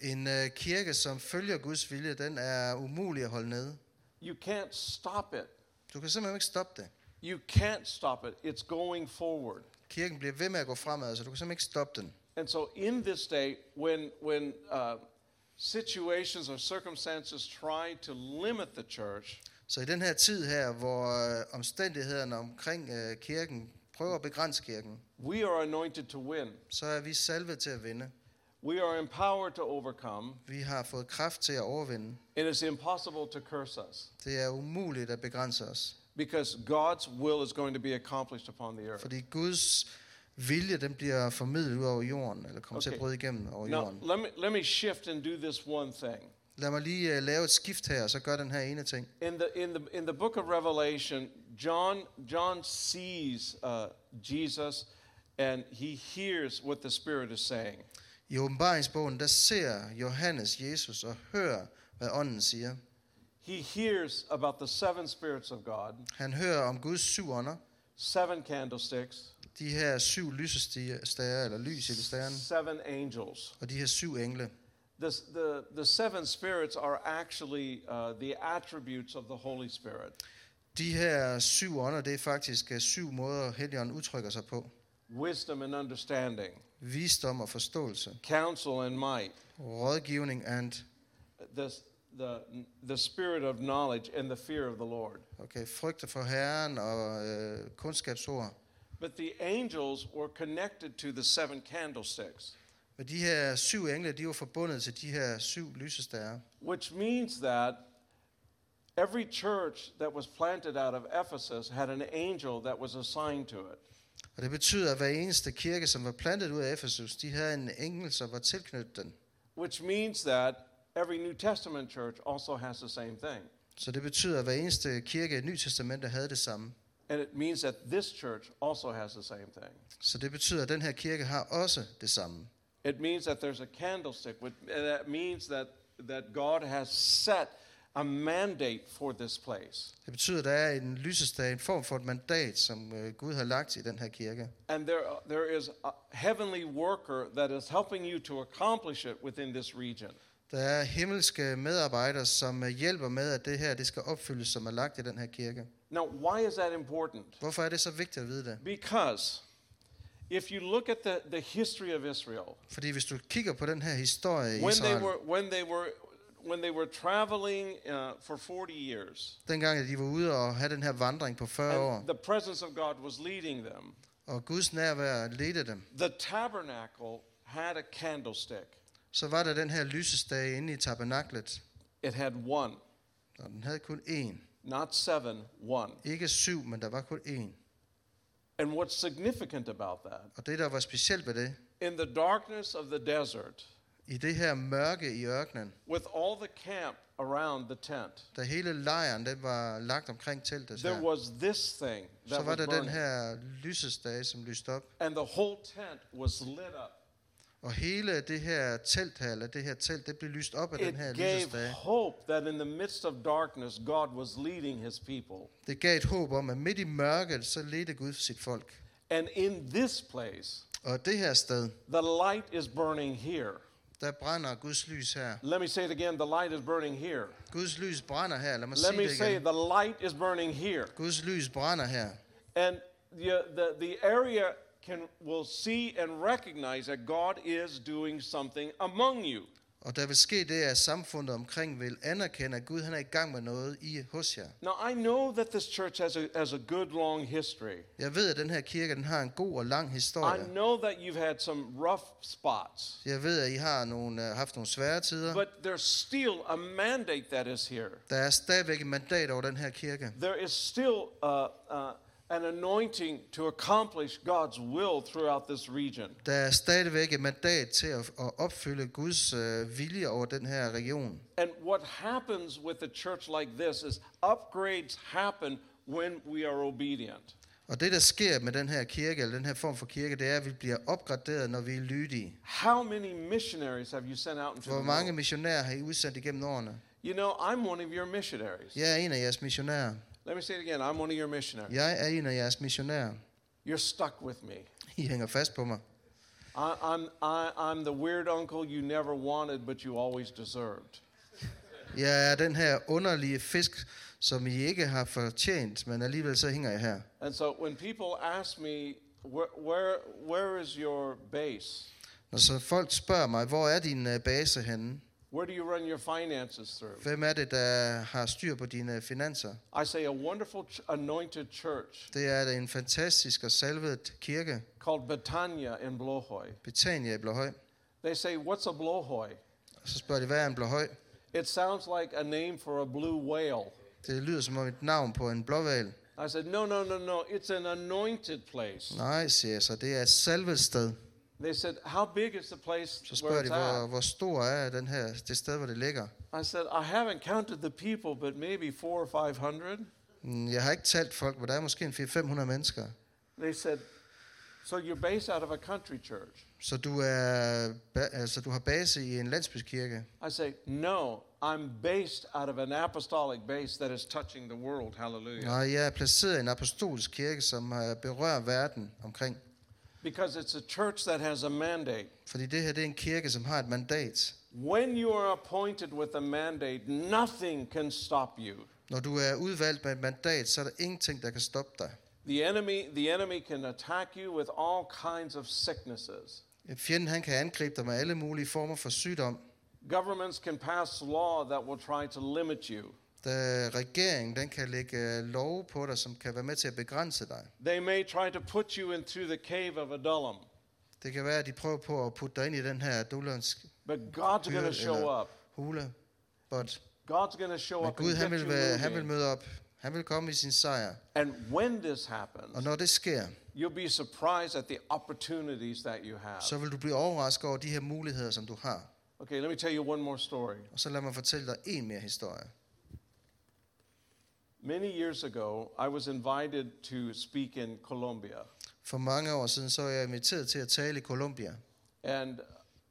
S2: En øh, kirke, som følger Guds vilje, den er umulig at holde nede.
S1: You can't stop it.
S2: Du kan simpelthen ikke stoppe det.
S1: You can't stop it. It's going forward.
S2: Kirken bliver ved med at gå fremad, så du kan simpelthen ikke stoppe den.
S1: And so, in this day, when, when uh, situations or circumstances try to limit the church,
S2: Så i den her tid her, hvor øh, omstændighederne omkring øh, kirken prøver at begrænse kirken,
S1: we are anointed to win.
S2: så er vi salvet til at vinde.
S1: We are empowered to overcome.
S2: Vi har fået kraft til at overvinde.
S1: It is impossible to curse us
S2: Det er umuligt at begrænse os,
S1: because God's will is going to be accomplished upon the earth.
S2: fordi Guds vilje, den bliver formidlet ud over jorden, eller kommer okay. til at
S1: Okay.
S2: bryde igennem over
S1: Now,
S2: jorden.
S1: let me, let me shift and do this one thing.
S2: Lad mig lige øh, lave et skift her, og så gør den her ene ting.
S1: In the, in the, in the book of Revelation, John, John sees uh, Jesus and he hears what the Spirit is saying.
S2: I åbenbaringsbogen, der ser Johannes Jesus og hører, hvad ånden siger.
S1: He hears about the seven spirits of God,
S2: Han hører om Guds syv ånder,
S1: seven candlesticks,
S2: de her syv lysestager, eller lys i stæren,
S1: seven angels.
S2: og de her syv engle.
S1: This, the, the seven spirits are actually uh, the attributes of the Holy Spirit.
S2: De her syv ånder, det er faktisk øh, syv måder, Helligånden udtrykker sig på.
S1: wisdom and understanding,
S2: Visdom og forståelse,
S1: counsel and might,
S2: rådgivning and
S1: the, the, the spirit of knowledge and the fear of the Lord.
S2: okay, frygte for Herren og øh, kundskabsord.
S1: But the angels were connected to the seven candlesticks,
S2: Men de her syv engle, de var forbundet til de her syv lysestager.
S1: which means that every church that was planted out of Ephesus had an angel that was assigned to it.
S2: Og det betyder, at hver eneste kirke, som var plantet ud af Efesus, de havde en engel, som var tilknyttet den.
S1: Which means that every New Testament church also has the same thing.
S2: Så det betyder, at hver eneste kirke i Nyt Testamentet havde det samme.
S1: And it means that this church also has the same thing.
S2: Så det betyder, at den her kirke har også det samme.
S1: It means that there's a candlestick. which- and That means that, that God has set a mandate for this place.
S2: Det betyder, at der er en lysestage, en form for et mandat, som øh, Gud har lagt i den her kirke.
S1: And there, uh, there is a heavenly worker that is helping you to accomplish it within this region.
S2: Der er himmelske medarbejdere, som øh, hjælper med, at det her det skal opfyldes, som er lagt i den her kirke.
S1: Now, why is that important?
S2: Hvorfor er det så vigtigt at vide det?
S1: Because if you look at the, the history of Israel,
S2: Fordi hvis du kigger på den her historie i
S1: when they
S2: Israel,
S1: were, when they were, when they were traveling uh, for 40 years,
S2: dengang at de var ude og have den her vandring på 40 år,
S1: and the presence of God was leading them,
S2: og Guds nærvær ledte dem,
S1: the tabernacle had a candlestick.
S2: så var der den her lysestage inde i tabernaklet,
S1: It had one,
S2: og den havde kun én.
S1: not seven, one.
S2: Ikke syv, men der var kun én.
S1: And what's significant about that,
S2: Og det, der var specielt ved det,
S1: in the darkness of the desert,
S2: i det her mørke i ørkenen,
S1: with all the camp around the tent,
S2: da hele lejren den var lagt omkring teltet,
S1: there
S2: her,
S1: was this thing
S2: så
S1: that
S2: var
S1: was
S2: der den
S1: burning,
S2: her lysestage, som lyste op.
S1: and the whole tent was lit up.
S2: Og hele det her telt her, eller det her telt, det blev lyst op af den her
S1: It gave
S2: lysestage.
S1: hope that in the midst of darkness, God was leading his people.
S2: Det gav et håb om, at midt i mørket, så ledte Gud sit folk.
S1: And in this place,
S2: Og det her sted,
S1: the light is burning here.
S2: der brænder Guds lys her.
S1: Let me say it again the light is burning here.
S2: Guds lys brænder her. Lad mig
S1: Let
S2: sige
S1: me
S2: det
S1: say
S2: igen.
S1: the light is burning here.
S2: Guds lys brænder her.
S1: And the, the, the area can, will see and recognize that God is doing something among you.
S2: Og der vil ske det, at samfundet omkring vil anerkende, at Gud han er i gang med noget i hos jer.
S1: Now, I know that this church has a, has a good long history.
S2: Jeg ved, at den her kirke den har en god og lang
S1: I
S2: historie.
S1: know that you've had some rough spots,
S2: Jeg ved, at I har nogle, øh, haft nogle svære tider.
S1: but there's still a mandate that is here.
S2: Der er stadigvæk et mandat over den her kirke.
S1: There is still uh, uh, an anointing to accomplish God's will throughout this region.
S2: Der er stadigvæk et mandat til at, at opfylde Guds øh, vilje over den her region.
S1: And what happens with a church like this is upgrades happen when we are obedient.
S2: Og det, der sker med den her kirke, eller den her form for kirke, det er, at vi bliver opgraderet, når vi er lydige.
S1: How many missionaries have you sent out into the
S2: Hvor
S1: world?
S2: mange missionærer har I udsendt igennem årene?
S1: You know, I'm one of your missionaries.
S2: Jeg er en af jeres missionærer.
S1: Let me say it again. I'm one of your missionaries.
S2: Jeg er en af jeres missionærer.
S1: You're stuck with me.
S2: I hænger fast på mig.
S1: I, I'm, I, I'm the weird uncle you never wanted, but you always deserved.
S2: Jeg er den her underlige fisk, som I ikke har fortjent, men alligevel så hænger jeg her.
S1: And so when people ask me, where, where, where is your base?
S2: Når så folk spørger mig, hvor er din øh, base henne?
S1: Where do you run your finances through?
S2: Hvem er det, der har styr på dine øh, finanser?
S1: I say a wonderful ch- anointed church
S2: Det er da en fantastisk og salvet kirke,
S1: called Betania in Blohoy.
S2: Betania i Blåhøj.
S1: They say, What's a Blohoy?
S2: Og så spørger de, hvad er en Blåhøj?
S1: It sounds like a name for a blue whale.
S2: Det lyder som om et navn på en blåval.
S1: I said, No, no, no, no. It's an anointed place.
S2: Nej, siger jeg så, det er et salvet sted.
S1: They said, How big is the place
S2: Så
S1: where
S2: spørger de,
S1: it's
S2: hvor,
S1: at?
S2: hvor stor er den her, det sted, hvor det ligger?
S1: I said, I haven't counted the people, but maybe four or five hundred.
S2: "Mm, Jeg har ikke talt folk, men der er måske en 400-500 mennesker.
S1: They said, So you're based out of a country church?
S2: Så du, er, ba- altså, du har base i en landsbykirke?
S1: I say, No, I'm based out of an apostolic base that is touching the world. Hallelujah.
S2: Nej, jeg er placeret i en apostolsk kirke, som øh, berører verden omkring.
S1: Because it's a church that has a mandate.
S2: Fordi det her det er en kirke, som har et mandat.
S1: When you are appointed with a mandate, nothing can stop you.
S2: Når du er udvalgt med et mandat, så er der ingenting, der kan stoppe dig.
S1: The enemy, the enemy can attack you with all kinds of sicknesses.
S2: Fjenden han kan angribe dig med alle mulige former for sygdom.
S1: Governments can pass law that will try to limit you.
S2: Da regeringen den kan lægge øh, love på dig, som kan være med til at begrænse dig.
S1: They may try to put you into the cave of Adullam,
S2: Det kan være, at de prøver på at putte dig ind i den her dullandsk
S1: but God's going to
S2: Good,
S1: show
S2: yeah.
S1: up.
S2: hule. But,
S1: God's going to show
S2: men
S1: up
S2: Gud
S1: and
S2: han
S1: get you
S2: vil, være, han vil
S1: moving.
S2: møde op. Han vil komme i sin sejr.
S1: And when this
S2: Og
S1: happens,
S2: når det sker,
S1: you'll be surprised at the opportunities that you have.
S2: så vil du blive overrasket over de her muligheder, som du har.
S1: Okay, let me tell you one more story.
S2: Og så lad mig fortælle dig en mere historie.
S1: Many years ago, I was invited to speak in Colombia,
S2: For mange år siden, så er jeg inviteret til at tale i Colombia.
S1: and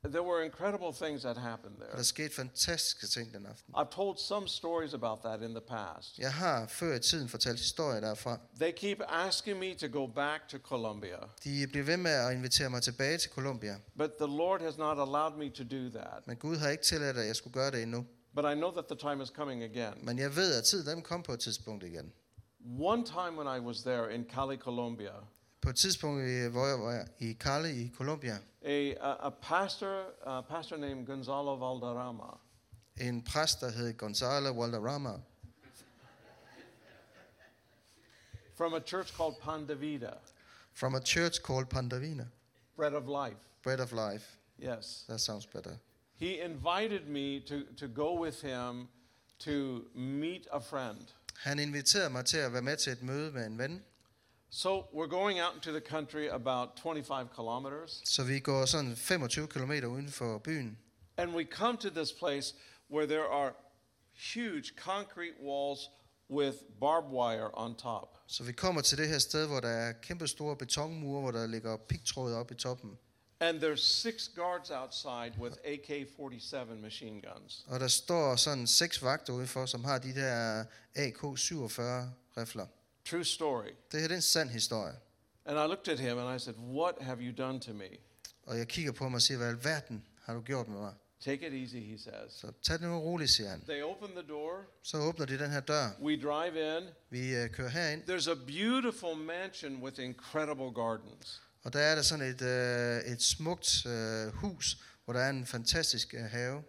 S1: there were incredible things that happened
S2: Og
S1: there.
S2: der skete fantastiske ting den aften.
S1: I've told some stories about that in the past.
S2: Jeg har før i tiden fortalt historier derfra.
S1: They keep asking me to go back to Colombia,
S2: De bliver ved med at invitere mig tilbage til Colombia.
S1: but the Lord has not allowed me to do that.
S2: Men Gud har ikke tilladt, at jeg skulle gøre det endnu.
S1: But I know that the time is coming again.
S2: Men jeg ved, at tiden den kom på et tidspunkt igen.
S1: One time when I was there in Cali, Colombia,
S2: På et tidspunkt, øh, hvor jeg var i Cali i Colombia,
S1: a, a, a pastor, a pastor named Gonzalo Valderrama,
S2: en præst, der hed Gonzalo Valderrama
S1: from a church called Pan de Vida,
S2: from a church called Pandavina.
S1: Bread of Life.
S2: Bread of Life.
S1: Yes.
S2: That sounds better.
S1: He invited me to, to go with him to meet a friend.
S2: Han inviterede mig til at være med til et møde med en ven.
S1: So we're going out into the country about 25 kilometers,
S2: Så vi går sådan 25 km uden for byen.
S1: and we come to this place where there are huge concrete walls with barbed wire on top.
S2: Så vi kommer til det her sted, hvor der er kæmpe store betonmure, hvor der ligger pigtråd op i toppen.
S1: And there's six guards outside with AK 47 machine guns.
S2: Og der står sådan seks vagter udenfor, som har de der AK-47 rifler.
S1: True story.
S2: Det her det er en sand historie.
S1: And I looked at him and I said, What have you done to me?
S2: Og jeg kigger på ham og siger, hvad i alverden har du gjort med mig?
S1: Take it easy, he says.
S2: Så tag det nu roligt, siger han.
S1: They open the door.
S2: Så åbner de den her dør.
S1: We drive in.
S2: Vi øh, kører herind,
S1: There's a beautiful mansion with incredible gardens.
S2: og der er der sådan et, øh, et smukt øh, hus, hvor der er en fantastisk øh, have.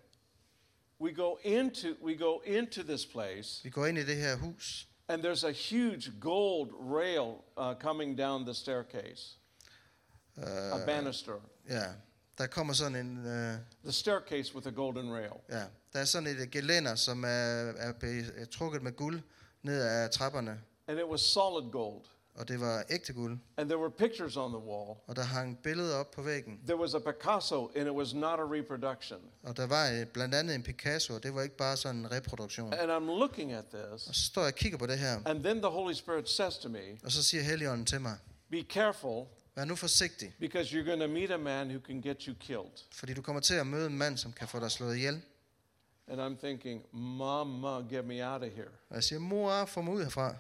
S1: We go into we go into this place,
S2: Vi går ind i det her hus,
S1: and there's a huge gold rail uh, coming down the staircase,
S2: Uh-huh.
S1: a banister.
S2: øh, Ja, der kommer sådan en, øh,
S1: The staircase with a golden rail.
S2: ja, der er sådan et øh, gelænder, som er, er be- er trukket med guld ned ad trapperne,
S1: And it was solid gold.
S2: og det var ægte guld,
S1: And there were pictures on the wall.
S2: og der hang billeder op på væggen,
S1: There was a Picasso, and it was not a reproduction.
S2: og der var øh, blandt andet en Picasso, og det var ikke bare sådan en reproduktion.
S1: And I'm looking at this,
S2: Og så står jeg og kigger på det her,
S1: and then the Holy Spirit says to me,
S2: og så siger Helligånden til mig,
S1: Be careful
S2: vær nu forsigtig,
S1: because you're going to meet a man who can get you killed.
S2: fordi du kommer til at møde en mand, som kan få dig slået ihjel.
S1: And I'm thinking, Mama, get me out of here.
S2: Og jeg siger, mor, få mig ud herfra.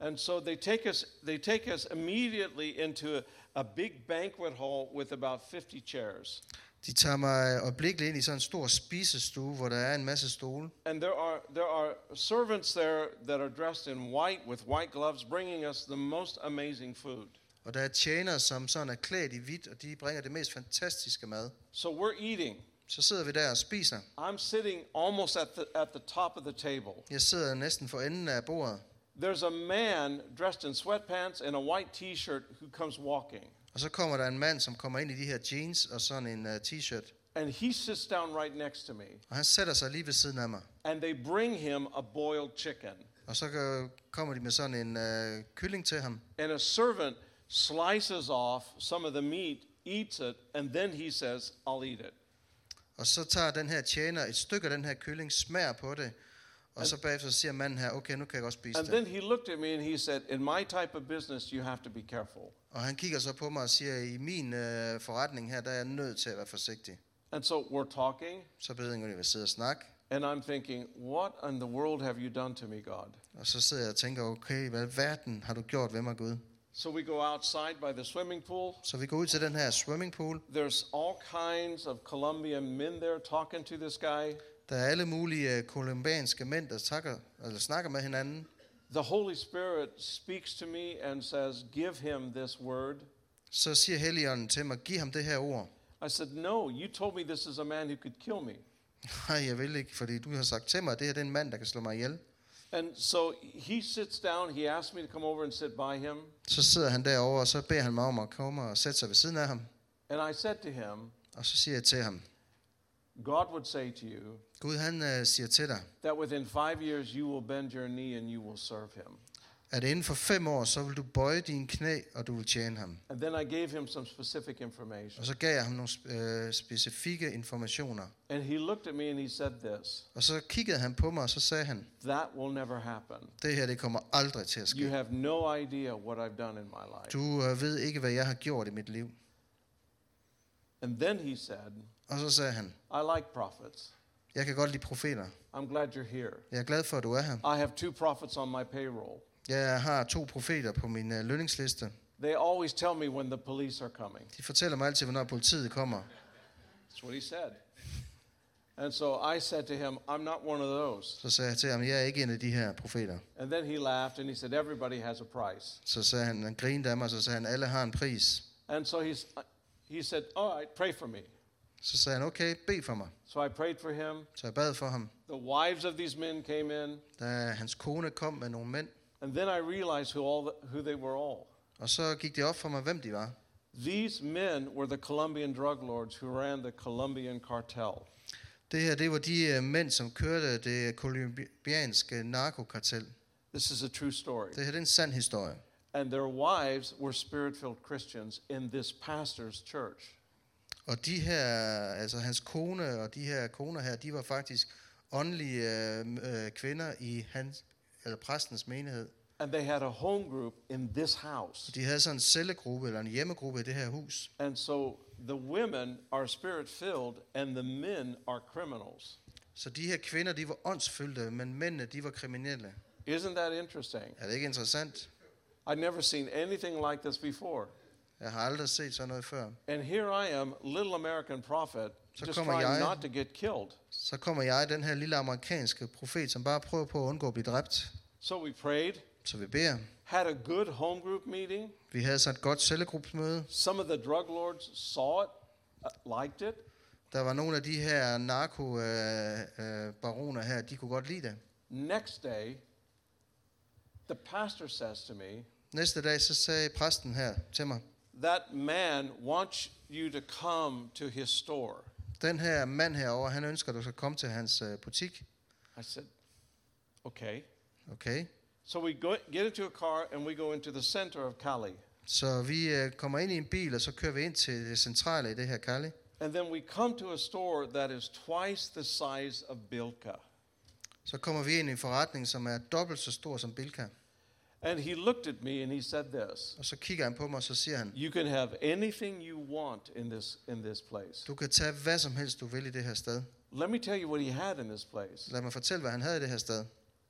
S1: And so they take us, they take us immediately into a, a big banquet hall with about 50 chairs.
S2: De tager mig øjeblikkeligt ind i sådan en stor spisestue, hvor der er en masse stole.
S1: And there are, there are servants there that are dressed in white with white gloves, bringing us the most amazing food.
S2: Og der er tjenere, som sådan er klædt i hvidt, og de bringer det mest fantastiske mad.
S1: So we're eating.
S2: Så sidder vi der og spiser.
S1: I'm sitting almost at the, at the top of the table.
S2: Jeg sidder næsten for enden af bordet.
S1: There's a man dressed in sweatpants and a white t shirt who comes walking.
S2: Og så kommer der en mand, som kommer ind i de her jeans og sådan en uh, t-shirt.
S1: And he sits down right next to me.
S2: Og han sætter sig lige ved siden af mig.
S1: And they bring him a boiled chicken.
S2: Og så øh, kommer de med sådan en uh, kylling til ham.
S1: And a servant slices off some of the meat, eats it, and then he says, I'll eat it.
S2: Og så tager den her tjener et stykke af den her kylling, smager på det. Og så bagefter siger manden her, okay, nu kan jeg godt spise
S1: And
S2: det.
S1: then he looked at me and he said, In my type of business, you have to be careful.
S2: Og han kigger så på mig og siger, i min øh, forretning her, der er jeg nødt til at være forsigtig.
S1: And so we're talking,
S2: Så beder jeg, at jeg vil sidde og snakke.
S1: and I'm thinking, What in the world have you done to me, God?
S2: Og så sidder jeg og tænker, okay, hvad i verden har du gjort ved mig, Gud?
S1: So we go outside by the swimming pool.
S2: Så vi går ud til den her swimmingpool.
S1: There's all kinds of Colombian men there talking to this guy.
S2: Der er alle mulige øh, kolumbianske mænd, der takker, eller snakker med hinanden.
S1: The Holy Spirit speaks to me and says, Give him this word.
S2: Så siger Helligånden til mig, giv ham det her ord. [LAUGHS]
S1: I said, No, you told me this is a man who could kill me.
S2: Nej, jeg vil ikke, fordi du har sagt til mig, at det her det er en mand, der kan slå mig ihjel.
S1: And so he sits down. He asked me to come over and sit by him.
S2: Så sidder han derovre, og så beder han mig om at komme og sætte sig ved siden af ham.
S1: And I said to him,
S2: Og så siger jeg til ham,
S1: God would say to you
S2: Gud han øh, siger til dig,
S1: that within five years you will bend your knee and you will serve him.
S2: at inden for fem år, så vil du bøje dine knæ, og du vil tjene ham.
S1: And then I gave him some specific information.
S2: Og så gav jeg ham nogle sp- øh, specifikke informationer.
S1: And he looked at me and he said this
S2: Og så kiggede han på mig, og så sagde han,
S1: That will never happen.
S2: det her det kommer aldrig til at
S1: You
S2: ske.
S1: have no idea what I've done in my life.
S2: Du øh, ved ikke, hvad jeg har gjort i mit liv.
S1: And then he said,
S2: Og så sagde han,
S1: I like prophets.
S2: jeg kan godt lide profeter.
S1: I'm glad you're here.
S2: Jeg er glad for, at du er her.
S1: I have two prophets on my payroll.
S2: Jeg har to profeter på min øh, lønningsliste.
S1: They always tell me when the police are coming.
S2: De fortæller mig altid, hvornår politiet kommer.
S1: That's what he said. And so I said to him, I'm not one of those.
S2: Så sagde jeg til ham, jeg er ikke en af de her profeter.
S1: And then he laughed and he said, Everybody has a price.
S2: Så sagde han, han grinede af mig, og så sagde han, alle har en pris.
S1: And so he's, he said, All right, pray for me.
S2: Så sagde han, okay, bed for mig.
S1: So I prayed for him.
S2: Så jeg bad for ham.
S1: The wives of these men came in.
S2: Da hans kone kom med nogle mænd,
S1: And then I realized who, all the, who they were all.
S2: og så gik det op for mig, hvem de var.
S1: These men were the Colombian drug lords who ran the Colombian cartel.
S2: Det her, det var de øh, mænd, som kørte det kolumbianske narkokartel.
S1: This is a true story.
S2: Det her, det er en sand historie.
S1: And their wives were spirit filled Christians in this pastor's church.
S2: Og de her, altså hans kone og de her koner her, de var faktisk åndelige øh, øh, kvinder i hans, eller præstens menighed.
S1: And they had a home group in this house.
S2: De havde sådan en cellegruppe eller en hjemmegruppe i det her hus.
S1: And so the women are spirit filled and the men are criminals.
S2: Så de her kvinder, de var åndsfyldte, men mændene, de var kriminelle.
S1: Isn't that interesting?
S2: Er det ikke interessant?
S1: I'd never seen anything like this before.
S2: Jeg har aldrig set sådan noget før.
S1: And here I am, little American prophet,
S2: Så
S1: just
S2: kommer
S1: trying
S2: jeg.
S1: not to get killed.
S2: Så kommer jeg, den her lille amerikanske profet, som bare prøver på at undgå at blive dræbt.
S1: So we prayed,
S2: Så vi beder.
S1: had a good home group meeting.
S2: Vi havde så et godt cellegruppemøde.
S1: Some of the drug lords saw it, uh, liked it.
S2: Der var nogle af de her narkobaroner øh, baroner her, de kunne godt lide det.
S1: Next day, the pastor says to me,
S2: Næste dag så sagde præsten her til mig,
S1: That man wants you to come to his store.
S2: den her mand herover, han ønsker, at du skal komme til hans øh, butik.
S1: I said, Okay.
S2: Okay.
S1: So we go, get into a car and we go into the center of Cali.
S2: Så vi øh, kommer ind i en bil, og så kører vi ind til det centrale i det her Cali.
S1: And then we come to a store that is twice the size of Bilka.
S2: Så kommer vi ind i en forretning, som er dobbelt så stor som Bilka.
S1: And he looked at me and he said this
S2: Og så kigger han på mig, og så siger han,
S1: You can have anything you want in this, in this place.
S2: du kan tage hvad som helst, du vil i det her sted.
S1: Let me tell you what he had in this place.
S2: Lad mig fortælle, hvad han havde i det her sted.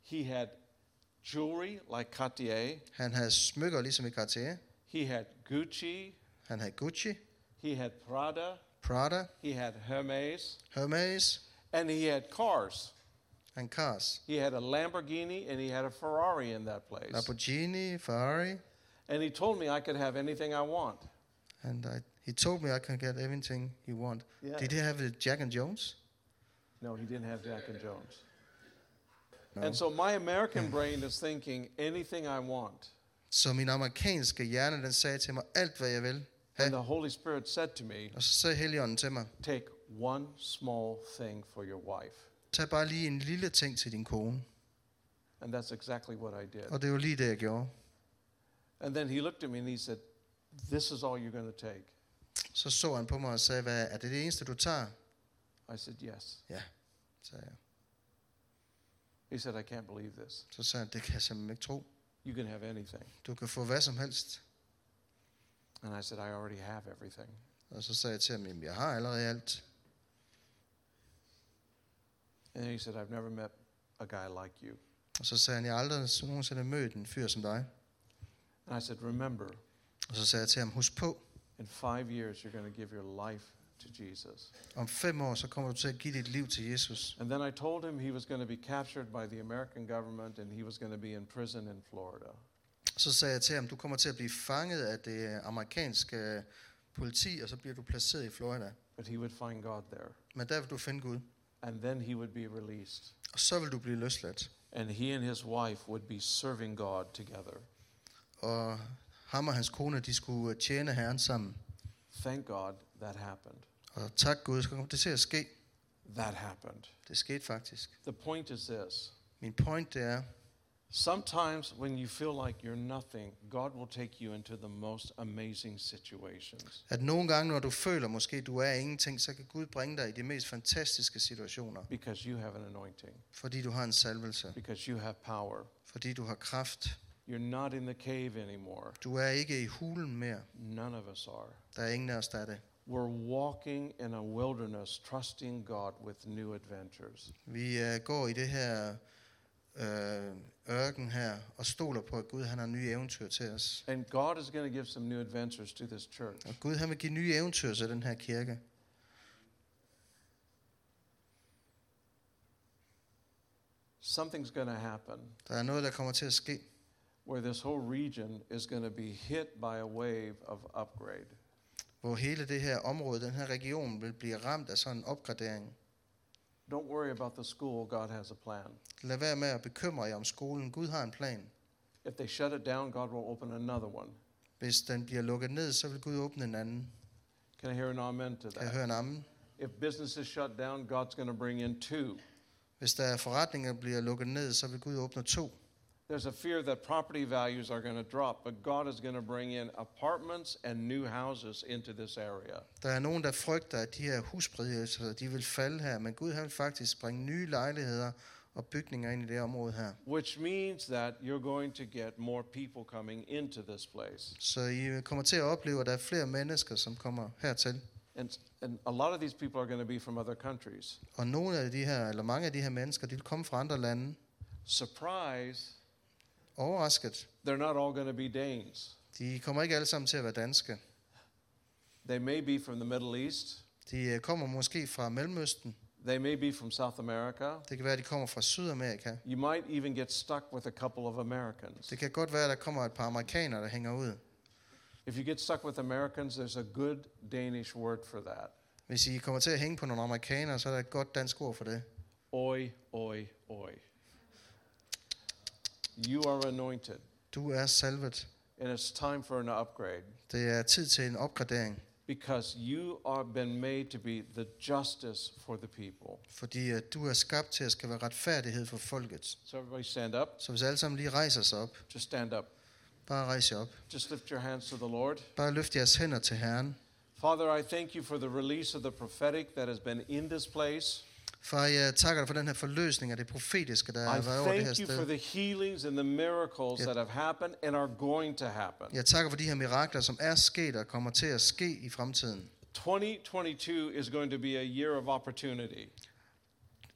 S1: He had jewelry like Cartier,
S2: Han havde smykker ligesom i Cartier.
S1: he had Gucci,
S2: Han havde Gucci,
S1: he had Prada,
S2: Prada,
S1: he had Hermes,
S2: Hermes,
S1: and he had cars.
S2: han Cars.
S1: He had a Lamborghini and he had a Ferrari in that place.
S2: Lamborghini, Ferrari,
S1: And he told me I could have anything I want.
S2: and I, he told me I can get everything he want.
S1: Yeah.
S2: Did he have a Jack and Jones?
S1: No, he didn't have Jack and Jones. And so my American brain is thinking anything I want.
S2: Så min amerikanske hjerne, den sagde til mig alt, hvad jeg vil.
S1: And
S2: have.
S1: the Holy Spirit said to me,
S2: Og så sagde Helligånden til mig,
S1: Take one small thing for your wife.
S2: tag bare lige en lille ting til din kone.
S1: And that's exactly what I did.
S2: Og det var lige det, jeg gjorde.
S1: And then he looked at me and he said, This is all you're going to take.
S2: Så så han på mig og sagde, hvad er det det eneste, du tager?
S1: I said, Yes.
S2: Ja, sagde jeg.
S1: He said, I can't believe this.
S2: Så sagde han, det kan jeg simpelthen ikke tro.
S1: You can have anything.
S2: Du kan få hvad som helst.
S1: And I said, I already have everything.
S2: Og så sagde jeg til ham, "Jamen, jeg har allerede alt.
S1: And he said, I've never met a guy like you.
S2: Og så sagde han, jeg har aldrig nogensinde mødt en fyr som dig.
S1: And I said, Remember,
S2: Og så sagde jeg til ham, husk på,
S1: in five years, you're going to give your life to Jesus.
S2: om fem år, så kommer du til at give dit liv til Jesus.
S1: And then I told him he was going to be captured by the American government and he was going to be in prison in Florida.
S2: Så sagde jeg til ham, du kommer til at blive fanget af det amerikanske øh, politi, og så bliver du placeret i Florida.
S1: But he would find God there.
S2: Men der vil du finde Gud,
S1: And then he would be released.
S2: og så vil du blive løsladt.
S1: And he and his wife would be serving God together.
S2: Og ham og hans kone, de skulle øh, tjene Herren sammen.
S1: Thank God that happened.
S2: Og tak Gud, så kom det til at ske.
S1: That happened.
S2: Det skete faktisk.
S1: The point is this
S2: Min point det er,
S1: sometimes when you feel like you're nothing, God will take you into the most amazing situations.
S2: at nogle gange, når du føler måske, du er ingenting, så kan Gud bringe dig i de mest fantastiske situationer.
S1: Because you have an anointing,
S2: Fordi du har en salvelse.
S1: because you have power.
S2: Fordi du har kraft.
S1: You're not in the cave anymore.
S2: Du er ikke i hulen mere.
S1: None of us are.
S2: Der er ingen af os, der er det.
S1: We're walking in a wilderness, trusting God with new adventures.
S2: Vi øh, går i det her øh, ørken her og stoler på, at Gud han har nye eventyr til os.
S1: And God is going to give some new adventures to this church.
S2: Og Gud han vil give nye eventyr til den her kirke.
S1: Something's going to happen
S2: Der er noget, der kommer til at ske,
S1: where this whole region is going to be hit by a wave of upgrade.
S2: hvor hele det her område, den her region, vil blive ramt af sådan en opgradering.
S1: Don't worry about the school, God has a plan.
S2: Lad være med at bekymre jer om skolen. Gud har en plan.
S1: If they shut it down, God will open another one.
S2: Hvis den bliver lukket ned, så vil Gud åbne en anden.
S1: Can I hear an amen to
S2: Kan jeg
S1: that?
S2: høre en amen?
S1: If business is shut down, God's going to bring in two.
S2: Hvis der er forretninger, der bliver lukket ned, så vil Gud åbne to.
S1: There's a fear that property values are going to drop, but God is going to bring in apartments and new houses into this area.
S2: Der er nogen, der frygter, at de her huspriser, de vil falde her, men Gud han vil faktisk bringe nye lejligheder og bygninger ind i det her område her.
S1: which means that you're going to get more people coming into this place.
S2: Så I kommer til at opleve, at der er flere mennesker, som kommer hertil.
S1: And, and a lot of these people are going to be from other countries.
S2: Og nogle af de her, eller mange af de her mennesker, de vil komme fra andre lande.
S1: Surprise,
S2: Overrasket.
S1: they're not all going to be Danes.
S2: De kommer ikke alle sammen til at være danske.
S1: They may be from the Middle East.
S2: De øh, kommer måske fra Mellemøsten.
S1: They may be from South America.
S2: Det kan være, at de kommer fra Sydamerika.
S1: You might even get stuck with a couple of Americans.
S2: Det kan godt være, at der kommer et par amerikanere, der hænger ud.
S1: If you get stuck with Americans, there's a good Danish word for that.
S2: Hvis I kommer til at hænge på nogle amerikanere, så er der et godt dansk ord for det.
S1: Oi, oi, oi. You are anointed,
S2: Du er salvet.
S1: and it's time for an upgrade
S2: Det er tid til en opgradering,
S1: because you are been made to be the justice for the people.
S2: fordi øh, du er skabt til at skal være retfærdighed for folket.
S1: So everybody stand up.
S2: Så hvis alle sammen lige rejser sig op,
S1: Just stand up.
S2: bare rejs jer op.
S1: Just lift your hands to the Lord.
S2: Bare løft jeres hænder til Herren.
S1: Father, I thank you for the release of the prophetic that has been in this place.
S2: Far, jeg takker dig for den her forløsning af det profetiske, der
S1: I
S2: har været over det her
S1: thank you for
S2: sted.
S1: the healings and the miracles
S2: Yeah.
S1: that have happened and are going to happen.
S2: Jeg takker for de her mirakler, som er sket og kommer til at ske i fremtiden.
S1: 2022 is going to be a year of opportunity.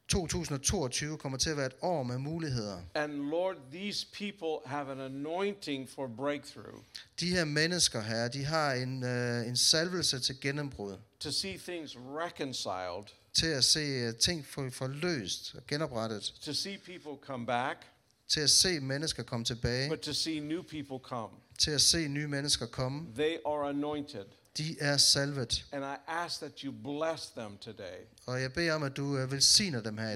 S2: 2022 kommer til at være et år med muligheder.
S1: And Lord, these people have an anointing for breakthrough
S2: De her mennesker her, de har en, øh, en salvelse til gennembrud.
S1: to see things reconciled,
S2: Til at se øh, ting få forløst og genoprettet.
S1: to see people come back,
S2: Til at se mennesker komme tilbage.
S1: but to see new people come.
S2: Til at se nye mennesker komme.
S1: They are anointed.
S2: De er salvet.
S1: And I ask that you bless them today.
S2: Og jeg beder om, at du øh, velsigner dem her i